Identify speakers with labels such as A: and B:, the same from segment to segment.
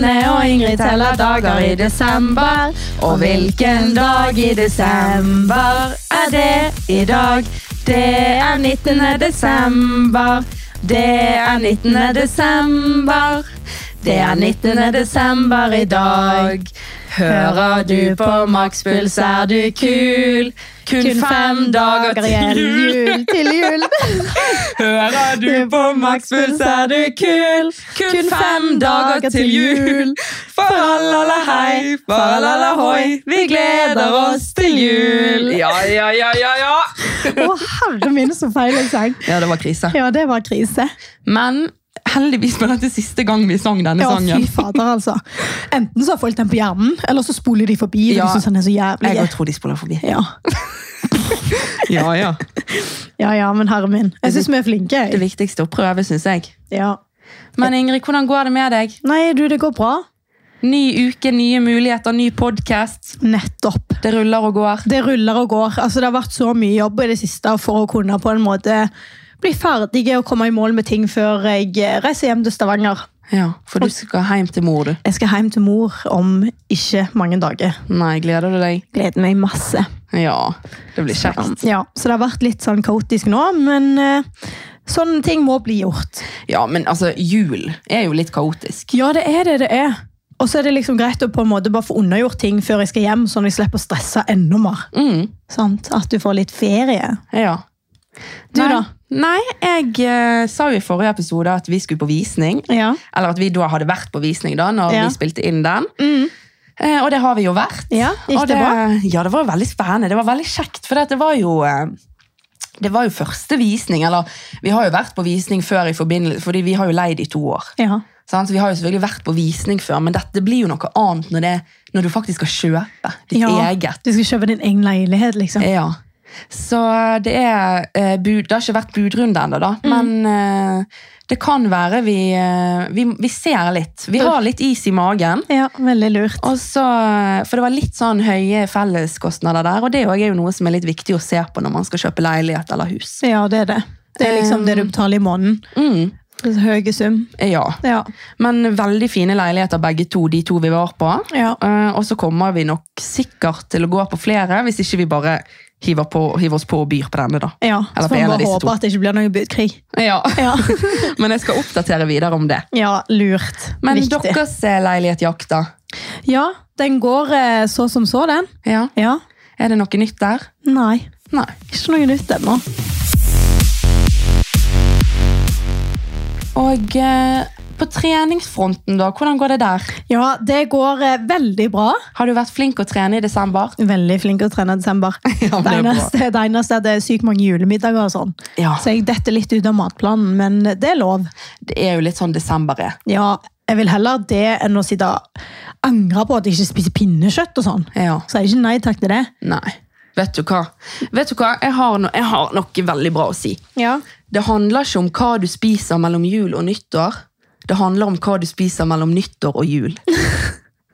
A: Ingrid teller dager i desember. Og hvilken dag i desember er det i dag? Det er 19. desember. Det er 19. desember. Det er 19. desember i dag. Hører du på makspuls, er du kul. Kun fem dager til jul.
B: jul. Til jul.
A: Hører du på Maxpuls, er du kul? Kun fem dager til jul. Faralala hei, faralala hoi, vi gleder oss til jul. Ja, ja, ja, ja, ja.
B: Å, herre min, så feil jeg sang.
A: Ja, det var krise.
B: Ja, det var krise.
A: Men heldigvis var dette siste gang vi sang denne
B: Ja, fy
A: sangen.
B: fader, altså. Enten så har folk den på hjernen, eller så spoler de forbi.
A: Ja.
B: Ja. De synes den er så jævlig.
A: Jeg tror de spoler forbi.
B: Ja.
A: Ja, ja.
B: ja, ja, men herre min. Jeg synes vi er flinke.
A: Det
B: jeg.
A: viktigste å prøve, syns jeg.
B: Ja.
A: Men Ingrid, hvordan går det med deg?
B: Nei, du, det går bra.
A: Ny uke, nye muligheter, ny podkast.
B: Nettopp.
A: Det ruller og går.
B: Det ruller og går. Altså, det har vært så mye jobb i det siste for å kunne på en måte bli ferdig og komme i mål med ting før jeg reiser hjem til Stavanger.
A: Ja, For du skal hjem til mor, du.
B: Jeg skal hjem til mor om ikke mange dager.
A: Nei, gleder du deg?
B: Gleder meg masse. Sånn.
A: Ja, Sånn. det blir kjekt.
B: Ja, så det har vært litt sånn kaotisk nå, men eh, sånne ting må bli gjort.
A: Ja, men altså, jul er jo litt kaotisk.
B: Ja, det er det det er. Og så er det liksom greit å på en måte bare få unnagjort ting før jeg skal hjem, sånn at jeg slipper å stresse enda mer.
A: Mm,
B: Sant? At du får litt ferie.
A: ja.
B: Du
A: Nei.
B: da?
A: Nei, jeg eh, sa jo i forrige episode at vi skulle på visning.
B: Ja.
A: Eller at vi da hadde vært på visning da, når
B: Ja.
A: vi spilte inn den.
B: Mm.
A: Eh, og det har vi jo vært.
B: Ja, gikk
A: Og
B: det bra?
A: Ja, det var veldig spennende. Det var veldig kjekt, for det var jo... eh, Det var jo første visning, eller vi har jo vært på visning før i forbindelse, fordi vi har jo leid i to år.
B: ja.
A: Sant? Så Vi har jo selvfølgelig vært på visning før, men dette blir jo noe annet når, det, når du faktisk skal kjøpe ditt
B: Ja.
A: eget.
B: Du skal kjøpe din egen leilighet, liksom.
A: Ja. Så det er eh, bud, Det har ikke vært budrunde ennå, da. Men eh, det kan være vi, eh, vi Vi ser litt. Vi har litt is i magen.
B: Ja, veldig lurt.
A: Og så, for det var litt sånn høye felleskostnader der, og det også er jo noe som er litt viktig å se på når man skal kjøpe leilighet eller hus.
B: Ja, det er det. Det er liksom
A: Um.
B: det du betaler i måneden.
A: Mm,
B: Det er Høye sum.
A: ja.
B: Ja.
A: Men veldig fine leiligheter begge to, de to vi var på.
B: Ja.
A: Eh, og så kommer vi nok sikkert til å gå på flere, hvis ikke vi bare hiver, på, hiver oss på og byr på denne, da.
B: ja.
A: Eller
B: Så
A: på en
B: man
A: av
B: bare
A: disse to.
B: håper at det ikke blir noen budkrig.
A: Ja.
B: Ja,
A: Men jeg skal oppdatere videre om det.
B: ja lurt.
A: Men
B: Viktig.
A: deres eh, leilighetjakt, da?
B: Ja, den går eh, så som så, den.
A: Ja.
B: Ja.
A: Er det noe nytt der?
B: Nei,
A: Nei.
B: ikke noe nytt ennå.
A: Og eh, på treningsfronten, da? Hvordan går det der?
B: Ja, det går eh, veldig bra.
A: Har du vært flink å trene i desember?
B: Veldig flink å trene i desember.
A: Ja, men
B: det,
A: det er bra.
B: eneste, det eneste er at det er sykt mange julemiddager og sånn.
A: Ja.
B: Så jeg detter litt ut av matplanen, men det er lov.
A: Det er jo litt sånn desember er.
B: Ja, jeg vil heller det enn å sitte og angre på at jeg ikke spiser pinnekjøtt og sånn.
A: Ja.
B: Så jeg er ikke nei takk til det.
A: Nei. Vet du hva? Vet du hva? Jeg har, no jeg har noe veldig bra å si.
B: Ja.
A: Det handler ikke om hva du spiser mellom jul og nyttår. Det handler om hva du spiser mellom nyttår og jul.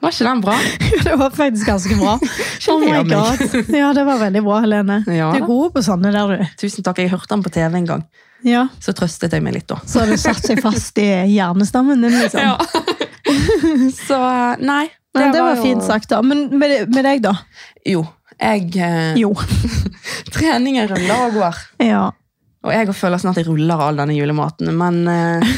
A: Var ikke den bra?
B: Det var faktisk ganske bra. Oh my
A: Sjener meg.
B: god. Ja, det var veldig bra, Helene.
A: Ja.
B: Du er god på sånne der, du.
A: Tusen takk. Jeg hørte den på TV en gang.
B: Ja.
A: Så trøstet jeg meg litt da.
B: Så har du satt seg fast i hjernestammen din, liksom.
A: Ja. Så eh, nei.
B: Det, det var,
A: jo-
B: fint sagt, da. Men med, med deg, da?
A: Jo. Jeg eh,
B: Jo.
A: Treningen ruller og går.
B: Ja.
A: Og jeg føler sånn at jeg ruller all denne julematen, men eh,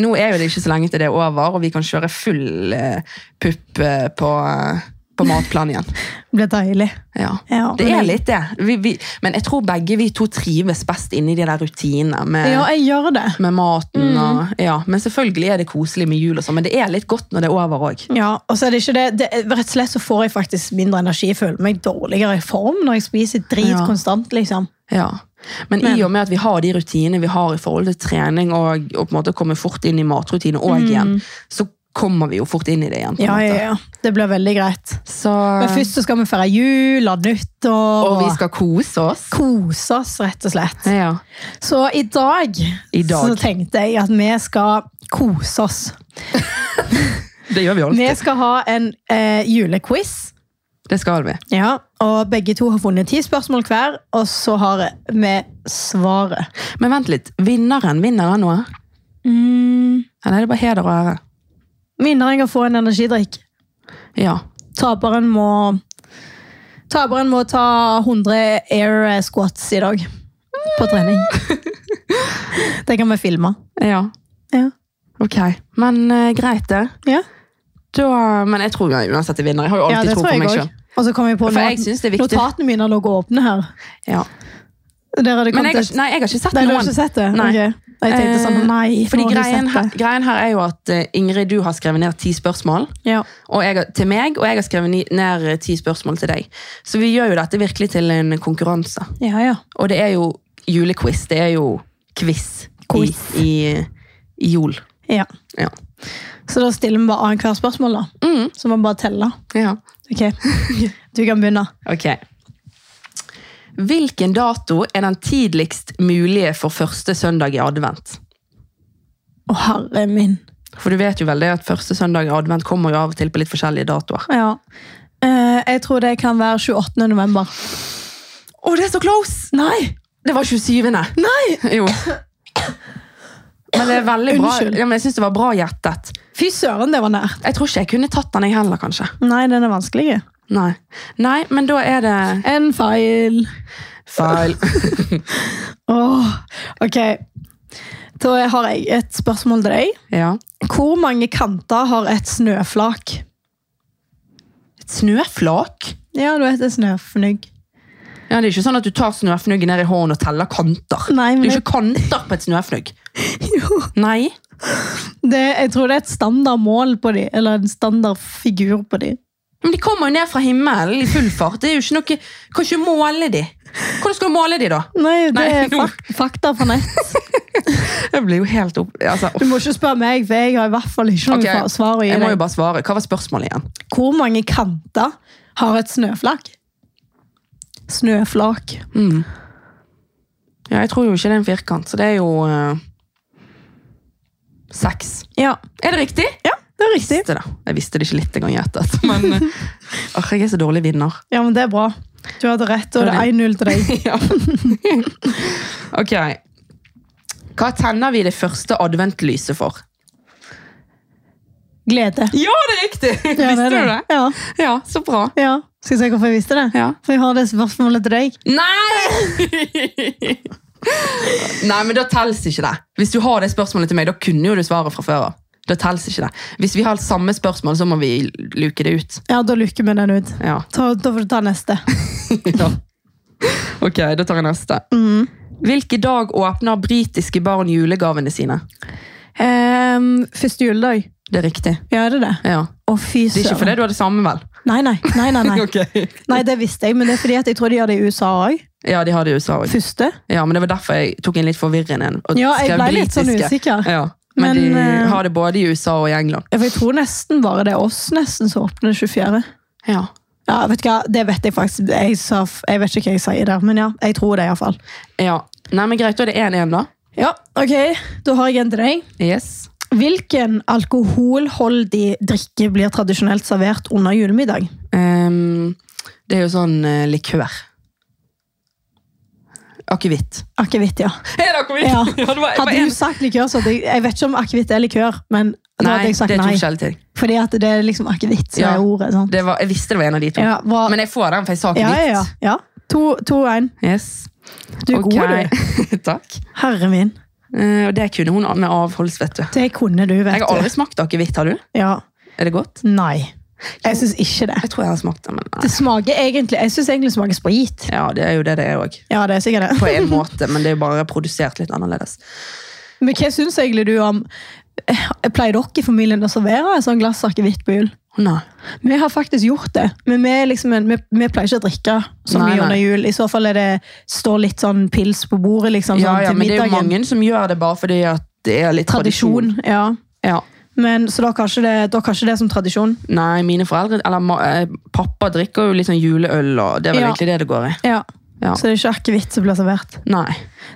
A: nå er jo det ikke så lenge til det er over, og vi kan kjøre full eh, pupp eh, på, eh, på matplan igjen.
B: Det ble deilig.
A: Ja.
B: Ja,
A: Det
B: men
A: er
B: jeg-
A: litt det. Vi, vi, men jeg tror begge vi to trives best inni de der rutinene med,
B: Ja, Mm. jeg gjør det.
A: med maten. Og, ja. Men selvfølgelig er det koselig med jul, og sånn, men det er litt godt når det er over òg.
B: Ja, og så er det ikke det, det Rett og slett så får jeg faktisk mindre energi. Jeg føler meg dårligere i form når jeg spiser drit
A: Ja.
B: konstant, liksom.
A: Ja. Men, i og med at vi har de rutinene vi har i forhold til trening, og, og på en måte komme fort inn i matrutine òg igjen, så kommer vi jo fort inn i det igjen. på en
B: Mm. Ja,
A: måte.
B: ja, ja. Det blir veldig greit.
A: Så,
B: Men først så skal vi feire jul og nyttår.
A: og vi skal kose oss.
B: kose oss, rett og slett.
A: Ja.
B: Så i dag,
A: I dag.
B: så tenkte jeg at vi skal kose oss.
A: Det gjør vi
B: Vi
A: alltid.
B: skal ha en eh, julequiz.
A: Det skal vi.
B: Ja, og begge to har funnet ti spørsmål hver, og så har vi svaret.
A: Men vent litt. Vinneren vinner han noe?
B: Mm.
A: Eller er det bare heder og ære?
B: Vinneren kan få en energidrikk.
A: Ja.
B: Taperen må Taperen må ta 100 air squats i dag. På trening. Det kan vi filme.
A: ja.
B: Ja.
A: Ok. Men eh, greit, det.
B: Ja,
A: Da, men jeg tror uansett jeg vinner. Jeg har jo
B: ja
A: alltid
B: det
A: tro
B: tror
A: på
B: jeg
A: meg
B: òg.
A: sjøl.
B: Og så kom jeg på
A: For jeg synes det er viktig.
B: notatene mine har ligget åpne her.
A: Ja.
B: Der har
A: Men
B: det kommet
A: jeg, har
B: et
A: ikke- nei, jeg har ikke sett
B: Nei, du har
A: noen.
B: ikke sett det?
A: Nei.
B: Ok. Jeg tenkte sånn,
A: Eh,
B: nei,
A: Fordi
B: nå har du
A: greien, her-
B: sett det.
A: greien her er jo at eh, Ingrid, du har skrevet ned ti spørsmål
B: Ja.
A: og jeg, har- til meg, og jeg har skrevet ni- ned eh, ti spørsmål til deg. Så vi gjør jo dette virkelig til en konkurranse.
B: ja, ja.
A: Og det er jo julequiz. Det er jo quiz,
B: Quiz.
A: I, i, i jul.
B: Ja.
A: Ja.
B: Så da stiller vi bare annethvert spørsmål, da.
A: Mm,
B: Så må vi bare telle.
A: ja.
B: Ok, Du kan begynne.
A: Ok. Hvilken dato er den tidligst mulige for første søndag i advent?
B: Å, herre min.
A: For du vet jo vel det at første søndag i advent kommer jo av og til på litt forskjellige datoer.
B: Ja. Eh, jeg tror det kan være 28. november.
A: Å, det er så close!
B: Nei!
A: Det var 27.
B: Nei!
A: Jo. Men det er veldig bra.
B: Unnskyld.
A: Ja, men jeg synes det var bra gjettet.
B: Fy søren, det var nært.
A: Jeg tror ikke jeg kunne tatt den jeg heller, kanskje.
B: Nei, den er vanskelig.
A: Nei, Nei men da er det
B: En feil.
A: feil.
B: Åh, ok. Da har jeg et spørsmål til deg.
A: Ja.
B: Hvor mange kanter har et snøflak?
A: Et snøflak?
B: Ja, du vet et snøfnugg.
A: Ja, Det er ikke sånn at du tar snøfnuggen ned i hånden og teller kanter.
B: Nei,
A: Det
B: men
A: er jo ikke kanter på et snøfnugg.
B: Jo.
A: Nei.
B: Det, jeg tror det er et standardmål på dem, eller en standardfigur på dem.
A: Men de kommer jo ned fra himmelen i full fart. Det er jo ikke noe... Kan ikke måle de. Hvordan skal du måle de, da?
B: Nei, det
A: Nei,
B: er
A: nå-
B: fak fakta fra nett.
A: Jeg blir jo helt opp... Altså,
B: Du må ikke spørre meg, for jeg har i hvert fall ikke noe
A: Ok,
B: fa- svar å gi
A: jeg må
B: deg.
A: jo bare svare. Hva var spørsmålet igjen?
B: Hvor mange kanter har et snøflak? Snøflak.
A: Mm. Ja, jeg tror jo ikke det er en firkant, så det er jo eh, Seks.
B: Ja,
A: Er det riktig?
B: det er riktig.
A: Visste det. Jeg visste det ikke litt engang i ettertid, men eh, åh, jeg er så dårlig vinner.
B: Ja, men det er bra. Du hadde rett, og det er 1-0 til deg.
A: Ja. ok. Hva tenner vi det første adventlyset for?
B: Glede.
A: Ja, det er riktig!
B: Ja,
A: Visste du det?
B: Ja,
A: Ja, så bra.
B: ja. Skal jeg se hvorfor jeg visste det?
A: Ja.
B: For jeg har det spørsmålet til deg.
A: Nei! Nei, men da tels ikke det. Hvis du har det spørsmålet til meg, da kunne jo du svaret fra før av. Da tels ikke det. Hvis vi har samme spørsmål, så må vi luke det ut.
B: Ja, da lukker vi den ut.
A: Ja.
B: Ta, da får du ta neste.
A: ja. Ok, da tar jeg neste.
B: Mhm.
A: Hvilke dag åpner britiske barn julegavene sine?
B: Ehm, første juledag.
A: Det er riktig.
B: Ja, er det det?
A: Ja.
B: Å, fy
A: Det er ikke
B: søren.
A: fordi du hadde samme, vel?
B: Nei, nei, nei, nei, nei.
A: Ok.
B: nei, det visste jeg, men det er fordi at jeg tror de gjør det i USA òg.
A: Ja, de har det i USA også.
B: Første.
A: Ja, men det var derfor jeg tok en litt forvirrende en. og
B: Ja, jeg
A: skrev
B: ble litt sånn
A: britiske.
B: usikker.
A: Ja, men,
B: Men, eh,
A: de har det både i USA og i England.
B: Ja, for Jeg tror nesten bare det er oss nesten som åpner 24.
A: Ja.
B: Ja, vet du hva? Det vet jeg faktisk. Jeg, sa, jeg vet ikke hva jeg sier der, men ja, jeg tror det iallfall.
A: ja. Nei, men greit, da er det 1-1 da.
B: Ja, ok. Da har jeg en til deg.
A: Yes.
B: Hvilken alkoholholdig drikke blir tradisjonelt servert under julemiddag?
A: Ehm, det er jo sånn eh, likør. Akevitt.
B: Akevitt, ja.
A: Er det akevitt?
B: Ja.
A: det var,
B: Hadde du sagt likør, så hadde jeg Jeg vet ikke om akevitt er likør, men da
A: Nei,
B: hadde jeg sagt
A: det er to
B: nei.
A: forskjellige ting.
B: Fordi at det er liksom akevitt som
A: Ja.
B: er ordet. sant?
A: Det var, jeg visste det var en av de to.
B: Ja, hva,
A: Men jeg får den, for jeg sa
B: ja,
A: akevitt.
B: ja, ja, ja. To, to, en.
A: Yes.
B: Du er god, du.
A: god, du. Takk.
B: Herre min.
A: Eh, Og det kunne hun med avholds, vet du.
B: Det kunne du, vet
A: Jeg har
B: du.
A: aldri smakt akevitt, har du?
B: Ja.
A: Er det godt?
B: Nei. Jeg syns ikke det.
A: Jeg tror jeg har smakt det, men nei.
B: Det smaker egentlig Jeg syns egentlig det smaker sprit.
A: Ja, det er jo det det er òg.
B: Ja, det er sikkert det.
A: På en måte, men det er jo bare produsert litt annerledes.
B: Men hva syns egentlig du om Eh, Pleier dere i familien å servere et sånt glass akevitt på jul?
A: Nei.
B: Vi har faktisk gjort det, men vi, er liksom, en- vi, vi pleier ikke å drikke så
A: Nei,
B: mye
A: nei.
B: under jul. I så fall er det står litt sånn pils på bordet liksom,
A: Ja,
B: sånn,
A: ja,
B: til
A: men det er
B: middagen.
A: jo mange som gjør det bare fordi at det er litt tradisjon.
B: Tradisjon. ja.
A: Ja.
B: Men, så da har ikke det, dere har ikke det som tradisjon?
A: Nei, mine foreldre Eller ma- eh, pappa drikker jo litt sånn juleøl, og det er vel
B: Ja.
A: egentlig det det går i.
B: Ja.
A: Ja.
B: Så det er ikke akevitt som blir servert?
A: Nei.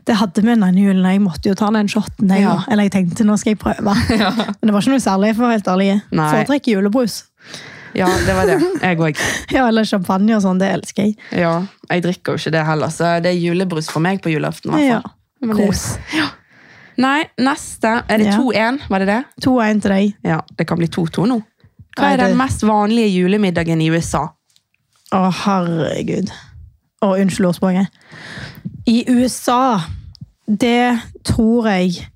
B: Det hadde vi denne julen. Jeg måtte jo ta den shoten. Jeg,
A: Ja.
B: da. Eller jeg tenkte nå skal jeg prøve. Men det var ikke noe særlig, for å være helt ærlig.
A: Nei.
B: Foretrekker julebrus.
A: Ja, det var det. Jeg òg.
B: Ja, eller champagne og sånn. Det elsker jeg.
A: Ja, jeg drikker jo ikke det heller, så det er julebrus for meg på julaften. i hvert
B: Ja.
A: fall. Men det-
B: Kos.
A: Nei, neste. Er det
B: Ja.
A: 2-1? Var det det?
B: 2-1 til deg.
A: Ja, det kan bli 2-2 nå. Hva
B: Nei,
A: er den
B: det-
A: mest vanlige julemiddagen i USA?
B: Å, herregud. Å, unnskyld ordspråket. I USA, det tror jeg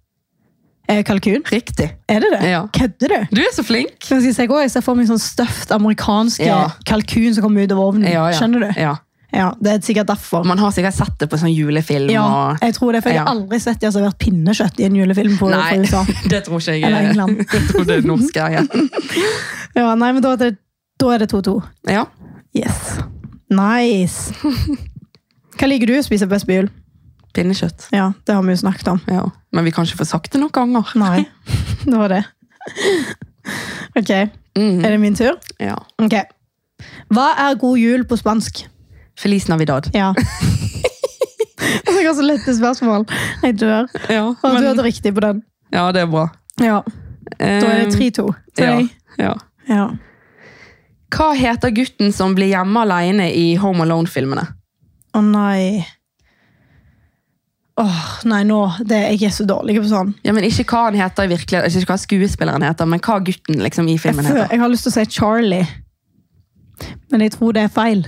B: er kalkun.
A: Riktig.
B: Er det det?
A: Ja.
B: Kødder du?
A: Du er så flink!
B: Men skal Jeg si hva? Jeg ser for meg sånn støft amerikansk
A: Ja.
B: kalkun som kommer ut av ovnen.
A: Ja, ja.
B: Skjønner du?
A: Ja.
B: Ja, Det er sikkert derfor.
A: Og man har sikkert sett det på sånn julefilm.
B: Ja,
A: og...
B: jeg tror det, for jeg har
A: Ja.
B: aldri sett de har servert pinnekjøtt i en julefilm på, fra USA.
A: det tror ikke jeg.
B: Eller England.
A: Jeg tror det er norsk her. Ja.
B: Ja, nei, men da er det- da er det 2-2.
A: ja.
B: Yes. Nice. Hva liker du å spise best på jul?
A: Pinnekjøtt.
B: Ja, det har vi jo snakket om.
A: Ja. Men vi kan ikke få sagt det noen ganger.
B: Nei, det var det. Ok,
A: Mm.
B: er det min tur?
A: Ja.
B: Ok. Hva er god jul på spansk?
A: Feliz Navidad.
B: Ja. Det var så lette spørsmål. Jeg dør.
A: Ja,
B: Og du
A: men,
B: hadde riktig på den.
A: ja det er bra. Eh,
B: Ja, da er det 3-2. til
A: Ja,
B: deg.
A: Um, ja.
B: Ja.
A: Hva heter gutten som blir hjemme alene i Home Alone-filmene?
B: Å nei. Åh, nei nå. Det, jeg er så dårlig på sånn.
A: Ja, men Ikke hva han heter i virkeligheten, ikke hva skuespilleren heter, men hva gutten liksom i
B: Jeg,
A: filmen
B: føler,
A: heter.
B: jeg har lyst til å si Charlie. Men jeg tror det er feil.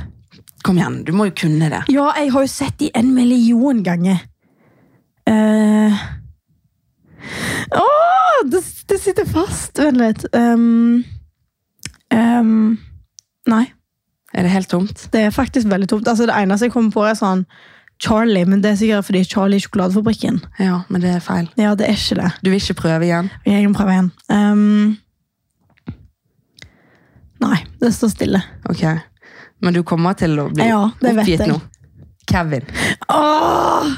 A: Kom igjen, du må jo kunne det.
B: Ja, jeg har jo sett de en million ganger. Eh. Åh, det, det sitter fast. Vent litt. Um, um, nei,
A: Er det helt tomt?
B: det er faktisk veldig tomt. Altså, det eneste jeg kommer på, er sånn Charlie, men det er sikkert fordi Charlie i sjokoladefabrikken.
A: Ja, men det er feil.
B: Ja, det er ikke det.
A: Du vil ikke prøve igjen?
B: Jeg må prøve igjen. Um, nei, det står stille.
A: Ok. Men du kommer til å bli
B: Ja, det vet
A: oppgitt
B: jeg.
A: nå. Kevin.
B: Åh!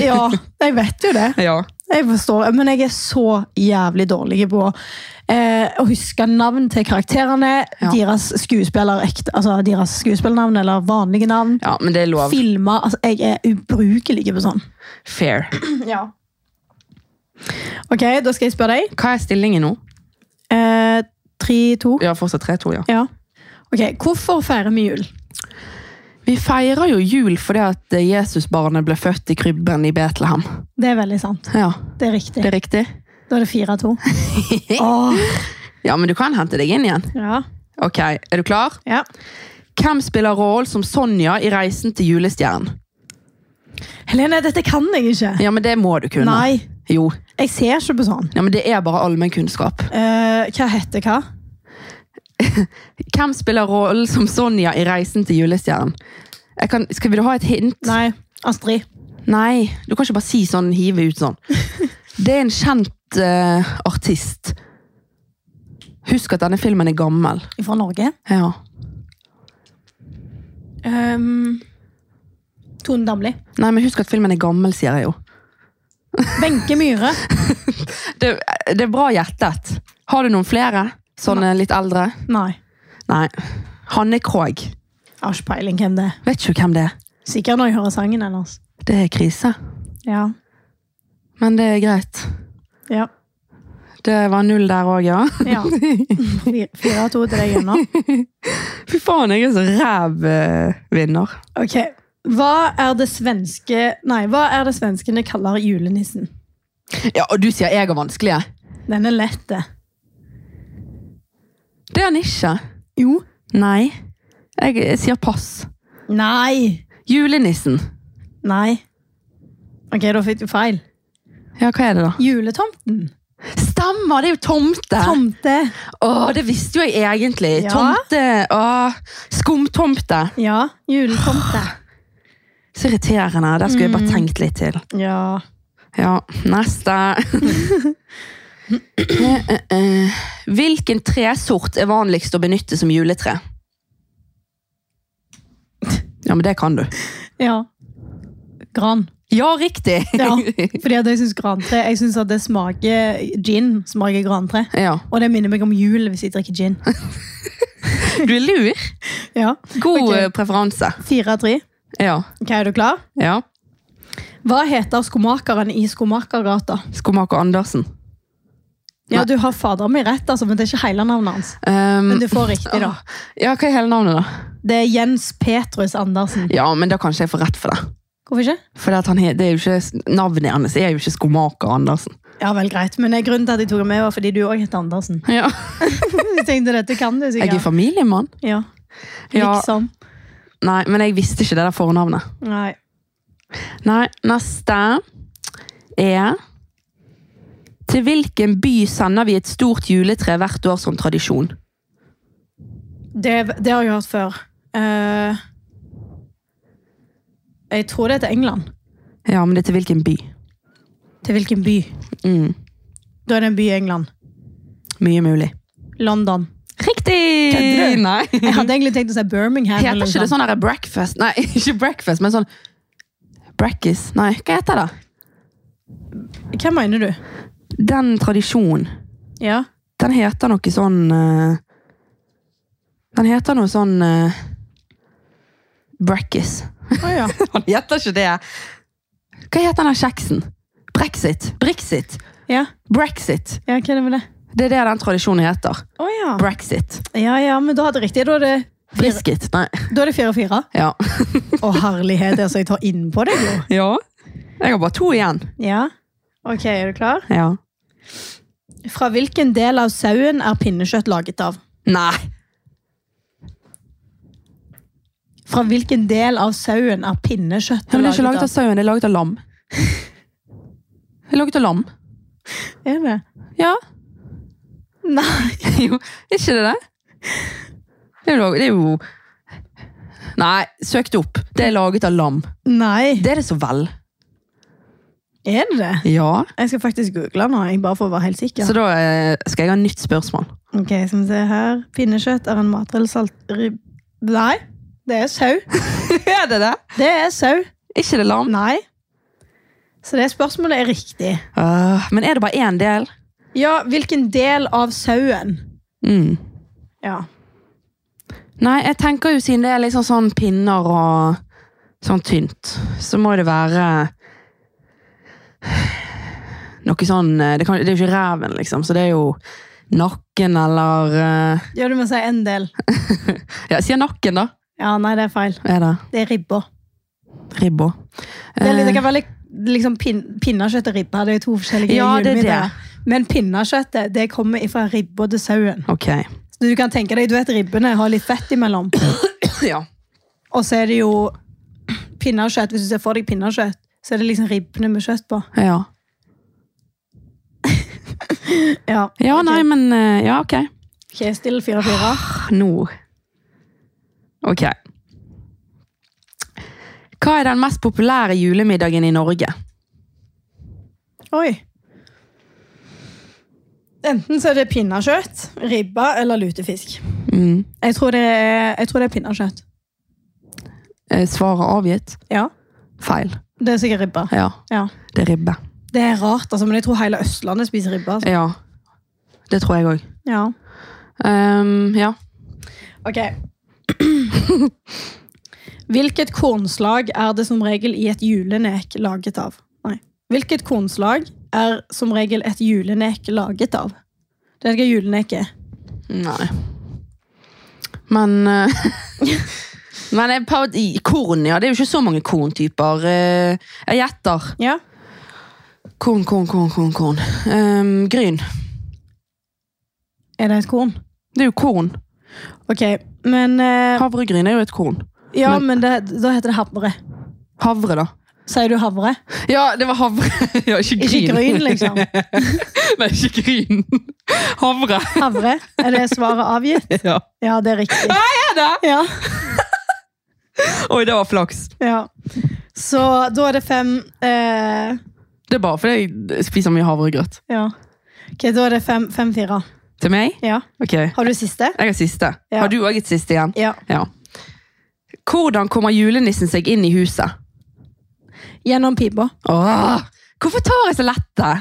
B: Ja, jeg vet jo det.
A: Ja.
B: Jeg forstår, men jeg er så jævlig dårlig på eh, å huske navn til karakterene,
A: Ja.
B: deres skuespiller, ekte, altså deres skuespillernavn eller vanlige navn,
A: ja, men det er lov.
B: filmer. Altså, jeg er ubrukelig på sånn.
A: Fair.
B: Ja. Ok, da skal jeg spørre deg.
A: Hva er stillingen nå?
B: Eh, Tre, to.
A: Ja, fortsatt 3-2, ja.
B: Ja. Ok, hvorfor feirer vi jul?
A: Vi feirer jo jul fordi at eh, Jesusbarnet ble født i krybben i Betlehem.
B: Det er veldig sant.
A: Ja,
B: Det er riktig.
A: det er riktig.
B: Da er det fire, to. Åh.
A: Ja, men du kan hente deg inn igjen.
B: Ja.
A: Ok, er du klar?
B: ja.
A: Hvem spiller rollen som Sonja i Reisen til julestjernen?
B: Helene, dette kan jeg ikke.
A: Ja, men det må du kunne.
B: Nei,
A: Jo.
B: jeg ser ikke på sånn.
A: Ja, men det er bare allmennkunnskap.
B: Eh, hva heter hva?
A: Hvem spiller rollen som Sonja i Reisen til julestjernen? Jeg kan, skal vil du ha et hint?
B: Nei, Astrid.
A: Nei, du kan ikke bare si sånn, hive ut sånn. Det er en kjent eh, artist. Husk at denne filmen er gammel.
B: Fra Norge.
A: Ja.
B: Um, Tone Damli.
A: Nei, men husk at filmen er gammel, sier jeg jo.
B: Wenche Myhre.
A: Det, det er bra gjettet. Har du noen flere? Sånne litt eldre?
B: Nei.
A: Nei. Hanne Krogh.
B: Jeg har ikke peiling hvem det er.
A: Vet ikke hvem det er.
B: Sikkert når jeg hører sangen hennes.
A: Det er krise.
B: Ja.
A: Men det er greit.
B: Ja.
A: Det var null der òg, ja.
B: ja. Fire- Fire av to til deg unna.
A: Fy faen, jeg er så ræv eh, vinner.
B: Ok. Hva er det svenske Nei, hva er det svenskene kaller julenissen?
A: Ja, Og du sier jeg er vanskelig. jeg.
B: Den er lett, det.
A: Det er han ikke.
B: Jo.
A: Nei. Jeg, jeg sier pass.
B: Nei.
A: Julenissen.
B: Nei. Ok, da fikk du feil.
A: Ja, hva er det, da?
B: Juletomten.
A: Stemmer, det er jo tomte!
B: Tomte.
A: Å, det visste jo jeg egentlig.
B: Ja.
A: Tomte. Å, skumtomte.
B: Ja. Juletomte.
A: Så irriterende. Der skulle jeg bare tenkt litt til.
B: Ja.
A: Ja, neste. Eh, eh, eh. Hvilken tresort er vanligst å benytte som juletre? Ja, men det kan du.
B: Ja. Gran.
A: Ja, riktig!
B: Ja, fordi at jeg syns grantre Jeg synes at det smaker gin. Smaker grantre.
A: Ja.
B: Og det minner meg om jul hvis jeg drikker gin.
A: Du er lur.
B: Ja.
A: God
B: Ok.
A: eh, preferanse.
B: Fire av tre.
A: Ja.
B: Ok, er du klar?
A: ja.
B: Hva heter skomakeren i Skomakergata?
A: Skomaker Andersen.
B: Ja, du har faderen min rett, altså, men det er ikke hele navnet hans.
A: Um,
B: Men du får riktig, da.
A: Ja, hva er hele navnet, da?
B: Det er Jens Petrus Andersen.
A: Ja, men da kanskje jeg får rett for det.
B: Hvorfor ikke?
A: For det, at han, he- det er jo ikke, navnet hans er jo ikke skomaker Andersen.
B: Ja, vel, greit. Men eh, grunnen til at jeg tok det med, var fordi du òg heter Andersen. jeg tenkte dette kan du
A: Jeg er
B: sikkert.
A: familiemann.
B: Ja.
A: Ja.
B: Liksom.
A: Nei, men jeg visste ikke det der fornavnet.
B: Nei.
A: Nei, neste er Til hvilken by sender vi et stort juletre hvert år som tradisjon?
B: Det, det har jeg hørt før. Eh, jeg tror det er til England.
A: Ja, men det er til hvilken by?
B: Til hvilken by?
A: Mm,
B: Da er det en by i England.
A: mye mulig.
B: London.
A: Riktig!
B: Kødder du?
A: Nei.
B: Jeg hadde egentlig tenkt å si Birmingham.
A: Heter
B: eller
A: ikke
B: noe
A: det
B: sånt.
A: sånn der breakfast? Nei, ikke breakfast, men sånn Brackis. Nei, hva heter det?
B: Hva mener du?
A: Den tradisjonen,
B: Ja.
A: den heter noe sånn eh, Den heter noe sånn uh, Brackis.
B: Å ja.
A: Han heter ikke det. Hva heter den der kjeksen? Brexit. Brexit.
B: ja.
A: Brexit.
B: Ja, hva er det med det?
A: Det er det den tradisjonen heter.
B: Å ja.
A: Brexit.
B: Ja, ja, men da hadde jeg riktig. Da er det fire-
A: Brisket. Nei.
B: da er det fire-fire.
A: Ja.
B: Å, herlighet, altså, jeg tar innpå deg nå.
A: ja. Jeg har bare to igjen.
B: Ja. Ok, er du klar?
A: Ja.
B: Fra hvilken del av sauen er pinnekjøtt laget av?
A: Nei.
B: Fra hvilken del av sauen er pinnekjøtt
A: Ja, men det er ikke altså. laget av sauen, det er laget av lam. Det er laget av lam.
B: Er det?
A: Ja.
B: Nei.
A: Jo, er ikke det det? Det er jo, lag- det er jo Nei, søk det opp. Det er laget av lam.
B: Nei.
A: Det er det så vel.
B: Er det det?
A: Ja.
B: Jeg skal faktisk google nå, jeg bare for å være helt sikker.
A: Så da eh, skal jeg ha nytt spørsmål.
B: Ok, skal vi se her. Pinnekjøtt er en matrelsalt... rib- Nei, det er sau.
A: er det det?
B: Det er sau.
A: Er ikke det lam?
B: Nei. Så det spørsmålet er riktig.
A: Øh, men er det bare én del?
B: Ja, hvilken del av sauen?
A: Mm.
B: Ja.
A: Nei, jeg tenker jo siden det er liksom sånn pinner og sånn tynt, så må det være noe sånn eh, Det, kan, det er jo ikke reven, liksom, så det er jo nakken eller eh,
B: Ja, du må si en del.
A: Ja, jeg sier nakken, da.
B: Ja, nei, det er feil.
A: Er det
B: Det er ribba.
A: ribba?
B: Det, er litt, det
A: Eh,
B: kan være litt, liksom pin, pinnekjøtt og ribba. Det er jo to forskjellige
A: Ja, det er det.
B: julemiddager. Men pinnekjøttet det kommer fra ribba til sauen.
A: Ok.
B: Så du kan tenke deg, du vet ribbene har litt fett imellom.
A: Ja.
B: Og så er det jo pinnekjøtt. Hvis du ser for deg pinnekjøtt, så er det liksom ribbene med kjøtt på.
A: Ja,
B: Ja,
A: ja
B: Ok.
A: nei, men eh, Ja, ok.
B: Ok, still 4-4.
A: Nå Ok. Hva er den mest populære julemiddagen i Norge?
B: Oi. Enten så er det pinnekjøtt, ribba eller lutefisk.
A: Mm.
B: Jeg tror det er, jeg tror det er pinnekjøtt.
A: Eh, Svaret avgitt?
B: Ja.
A: Feil.
B: Det er sikkert ribba.
A: Ja,
B: Ja.
A: det er ribbe.
B: Det er rart, altså, men jeg tror hele Østlandet spiser ribba. Altså.
A: Ja, det tror jeg òg.
B: Ja.
A: Ehm, ja.
B: Ok. Hvilket kornslag er det som regel i et julenek laget av? Nei. Hvilket kornslag er som regel et julenek laget av? Det er hva julenek er.
A: Nei. Men eh, Men jeg prøvde, i- korn, ja. Det er jo ikke så mange korntyper. Eh, Jeg gjetter.
B: Ja.
A: Korn, korn, korn, korn. korn. Ehm, gryn.
B: Er det et korn?
A: Det er jo korn.
B: Ok, men... eh,
A: Havregryn er jo et korn.
B: Ja, men det, da heter det havre.
A: Havre, da.
B: Sier du havre?
A: Ja, det var havre. Ja, ikke gryn.
B: Ikke gryn, liksom.
A: Nei, ikke gryn. Havre.
B: Havre. Er det svaret avgitt?
A: Ja.
B: Ja, det er riktig.
A: Er det?
B: Ja,
A: Oi, det var flaks.
B: ja. Så da er det fem eh,
A: Det er bare fordi jeg spiser mye havregrøt.
B: Ja. Ok, da er det fem, fem fire.
A: Til meg?
B: Ja.
A: Ok.
B: Har du siste?
A: Jeg har siste.
B: Ja.
A: Har du òg et siste igjen?
B: Ja.
A: Ja. Hvordan kommer julenissen seg inn i huset?
B: Gjennom pipa.
A: Åh, hvorfor tar jeg så lette?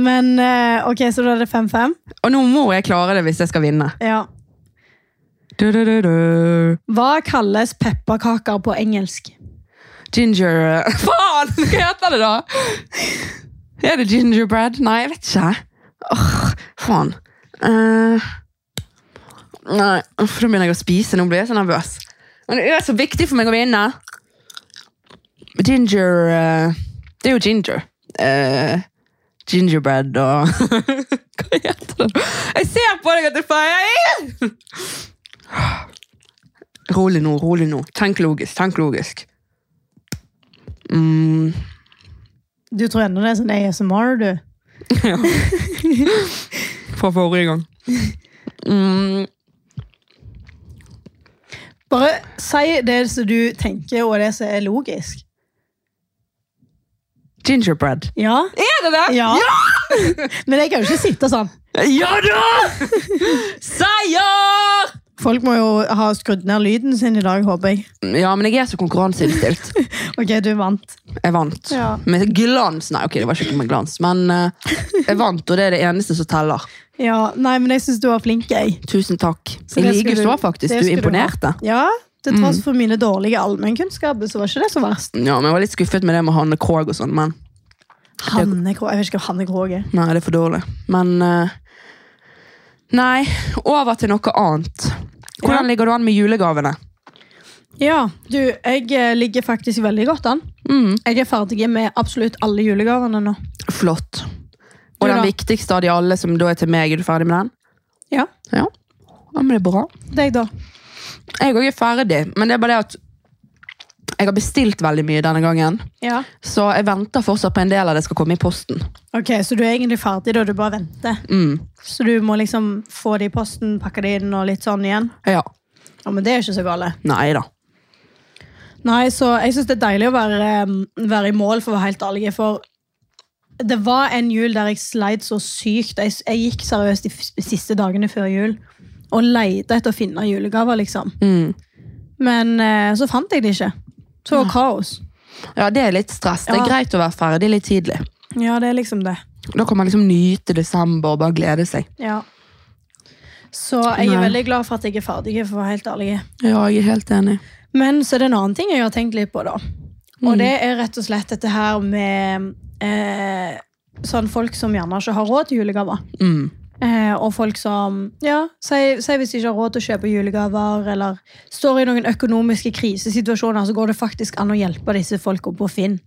B: Men eh, ok, så da er det fem-fem.
A: Og nå må jeg klare det hvis jeg skal vinne.
B: Ja.
A: Du, du, du, du.
B: Hva kalles pepperkaker på engelsk?
A: Ginger Faen, hva heter det da? Er det gingerbread? Nei, jeg vet ikke. Åh, faen. Eh, nei, uff, da begynner jeg å spise. Nå blir jeg så nervøs. Men det er så viktig for meg å vinne. Ginger eh, Det er jo ginger. Eh, gingerbread og Hva heter det? Jeg ser på deg at du feirer! rolig nå, rolig nå. Tenk logisk. Tenk logisk. Mm,
B: Du tror ennå det er sånn ASMR, du?
A: fra forrige gang. Mm,
B: Bare si det som du tenker, og det som er logisk.
A: gingerbread.
B: Ja?
A: Er det det?
B: Ja. Men jeg kan jo ikke sitte sånn.
A: Ja da! Seier!
B: Folk må jo ha skrudd ned lyden sin i dag, håper jeg.
A: Ja, men jeg er så konkurranseinnstilt.
B: Ok, du vant.
A: Jeg vant.
B: Ja.
A: Med glans. Nei, ok, det var ikke med glans, men eh, jeg vant, og det er det eneste som teller.
B: Ja, Nei, men jeg syns du var flink, jeg.
A: Tusen takk.
B: Så
A: I
B: det
A: like
B: skulle
A: så,
B: du-
A: faktisk.
B: det
A: Du
B: skulle du ha.
A: imponerte.
B: Ja, Mm. til tross for mine dårlige allmennkunnskaper, så var ikke det så verst.
A: Ja, men Jeg var litt skuffet med det med Hanne Krogh og sånn, men
B: Hanne Krog, Jeg vet ikke hva Hanne Krog er.
A: nei, det er for dårlig. Men eh, Nei, over til noe annet. Hvordan
B: Ja.
A: ligger du an med julegavene?
B: Ja, du, jeg eh, ligger faktisk veldig godt an.
A: Mm.
B: Jeg er ferdig med absolutt alle julegavene nå.
A: Flott. Og
B: Du
A: den
B: da?
A: viktigste av de alle, som da er til meg, er du ferdig med den?
B: Ja,
A: Ja. ja men det er bra.
B: deg da.
A: Jeg òg er ferdig, men det er bare det at jeg har bestilt veldig mye denne gangen.
B: Ja.
A: Så jeg venter fortsatt på en del av det skal komme i posten.
B: Ok, Så du er egentlig ferdig da, du bare venter?
A: Mm.
B: Så du må liksom få det i posten, pakke det inn og litt sånn igjen?
A: Ja.
B: Ja, men det er ikke så gale.
A: Nei da.
B: Nei, så jeg syns det er deilig å være, um, være i mål, for å være helt ærlig. For det var en jul der jeg sleit så sykt. Jeg, s- jeg gikk seriøst de f- siste dagene før jul og leita etter å finne julegaver, liksom.
A: Mm.
B: Men eh, så fant jeg det ikke. Så det var kaos.
A: Ja, det er litt stress. Det
B: Ja.
A: er greit å være ferdig litt tidlig.
B: Ja, det er liksom det.
A: Da kan man liksom nyte desember og bare glede seg.
B: Ja. Så jeg er
A: Nei.
B: veldig glad for at jeg er ferdig, for å være helt ærlig.
A: Ja, jeg er helt enig.
B: Men så er det en annen ting jeg har tenkt litt på, da.
A: Mm.
B: Og det er rett og slett dette her med eh, sånn folk som gjerne ikke har råd til julegaver.
A: Mm.
B: Eh, og folk som ja, sier sier hvis de ikke har råd til å kjøpe julegaver, eller står i noen økonomiske krisesituasjoner, så går det faktisk an å hjelpe disse folka på Finn.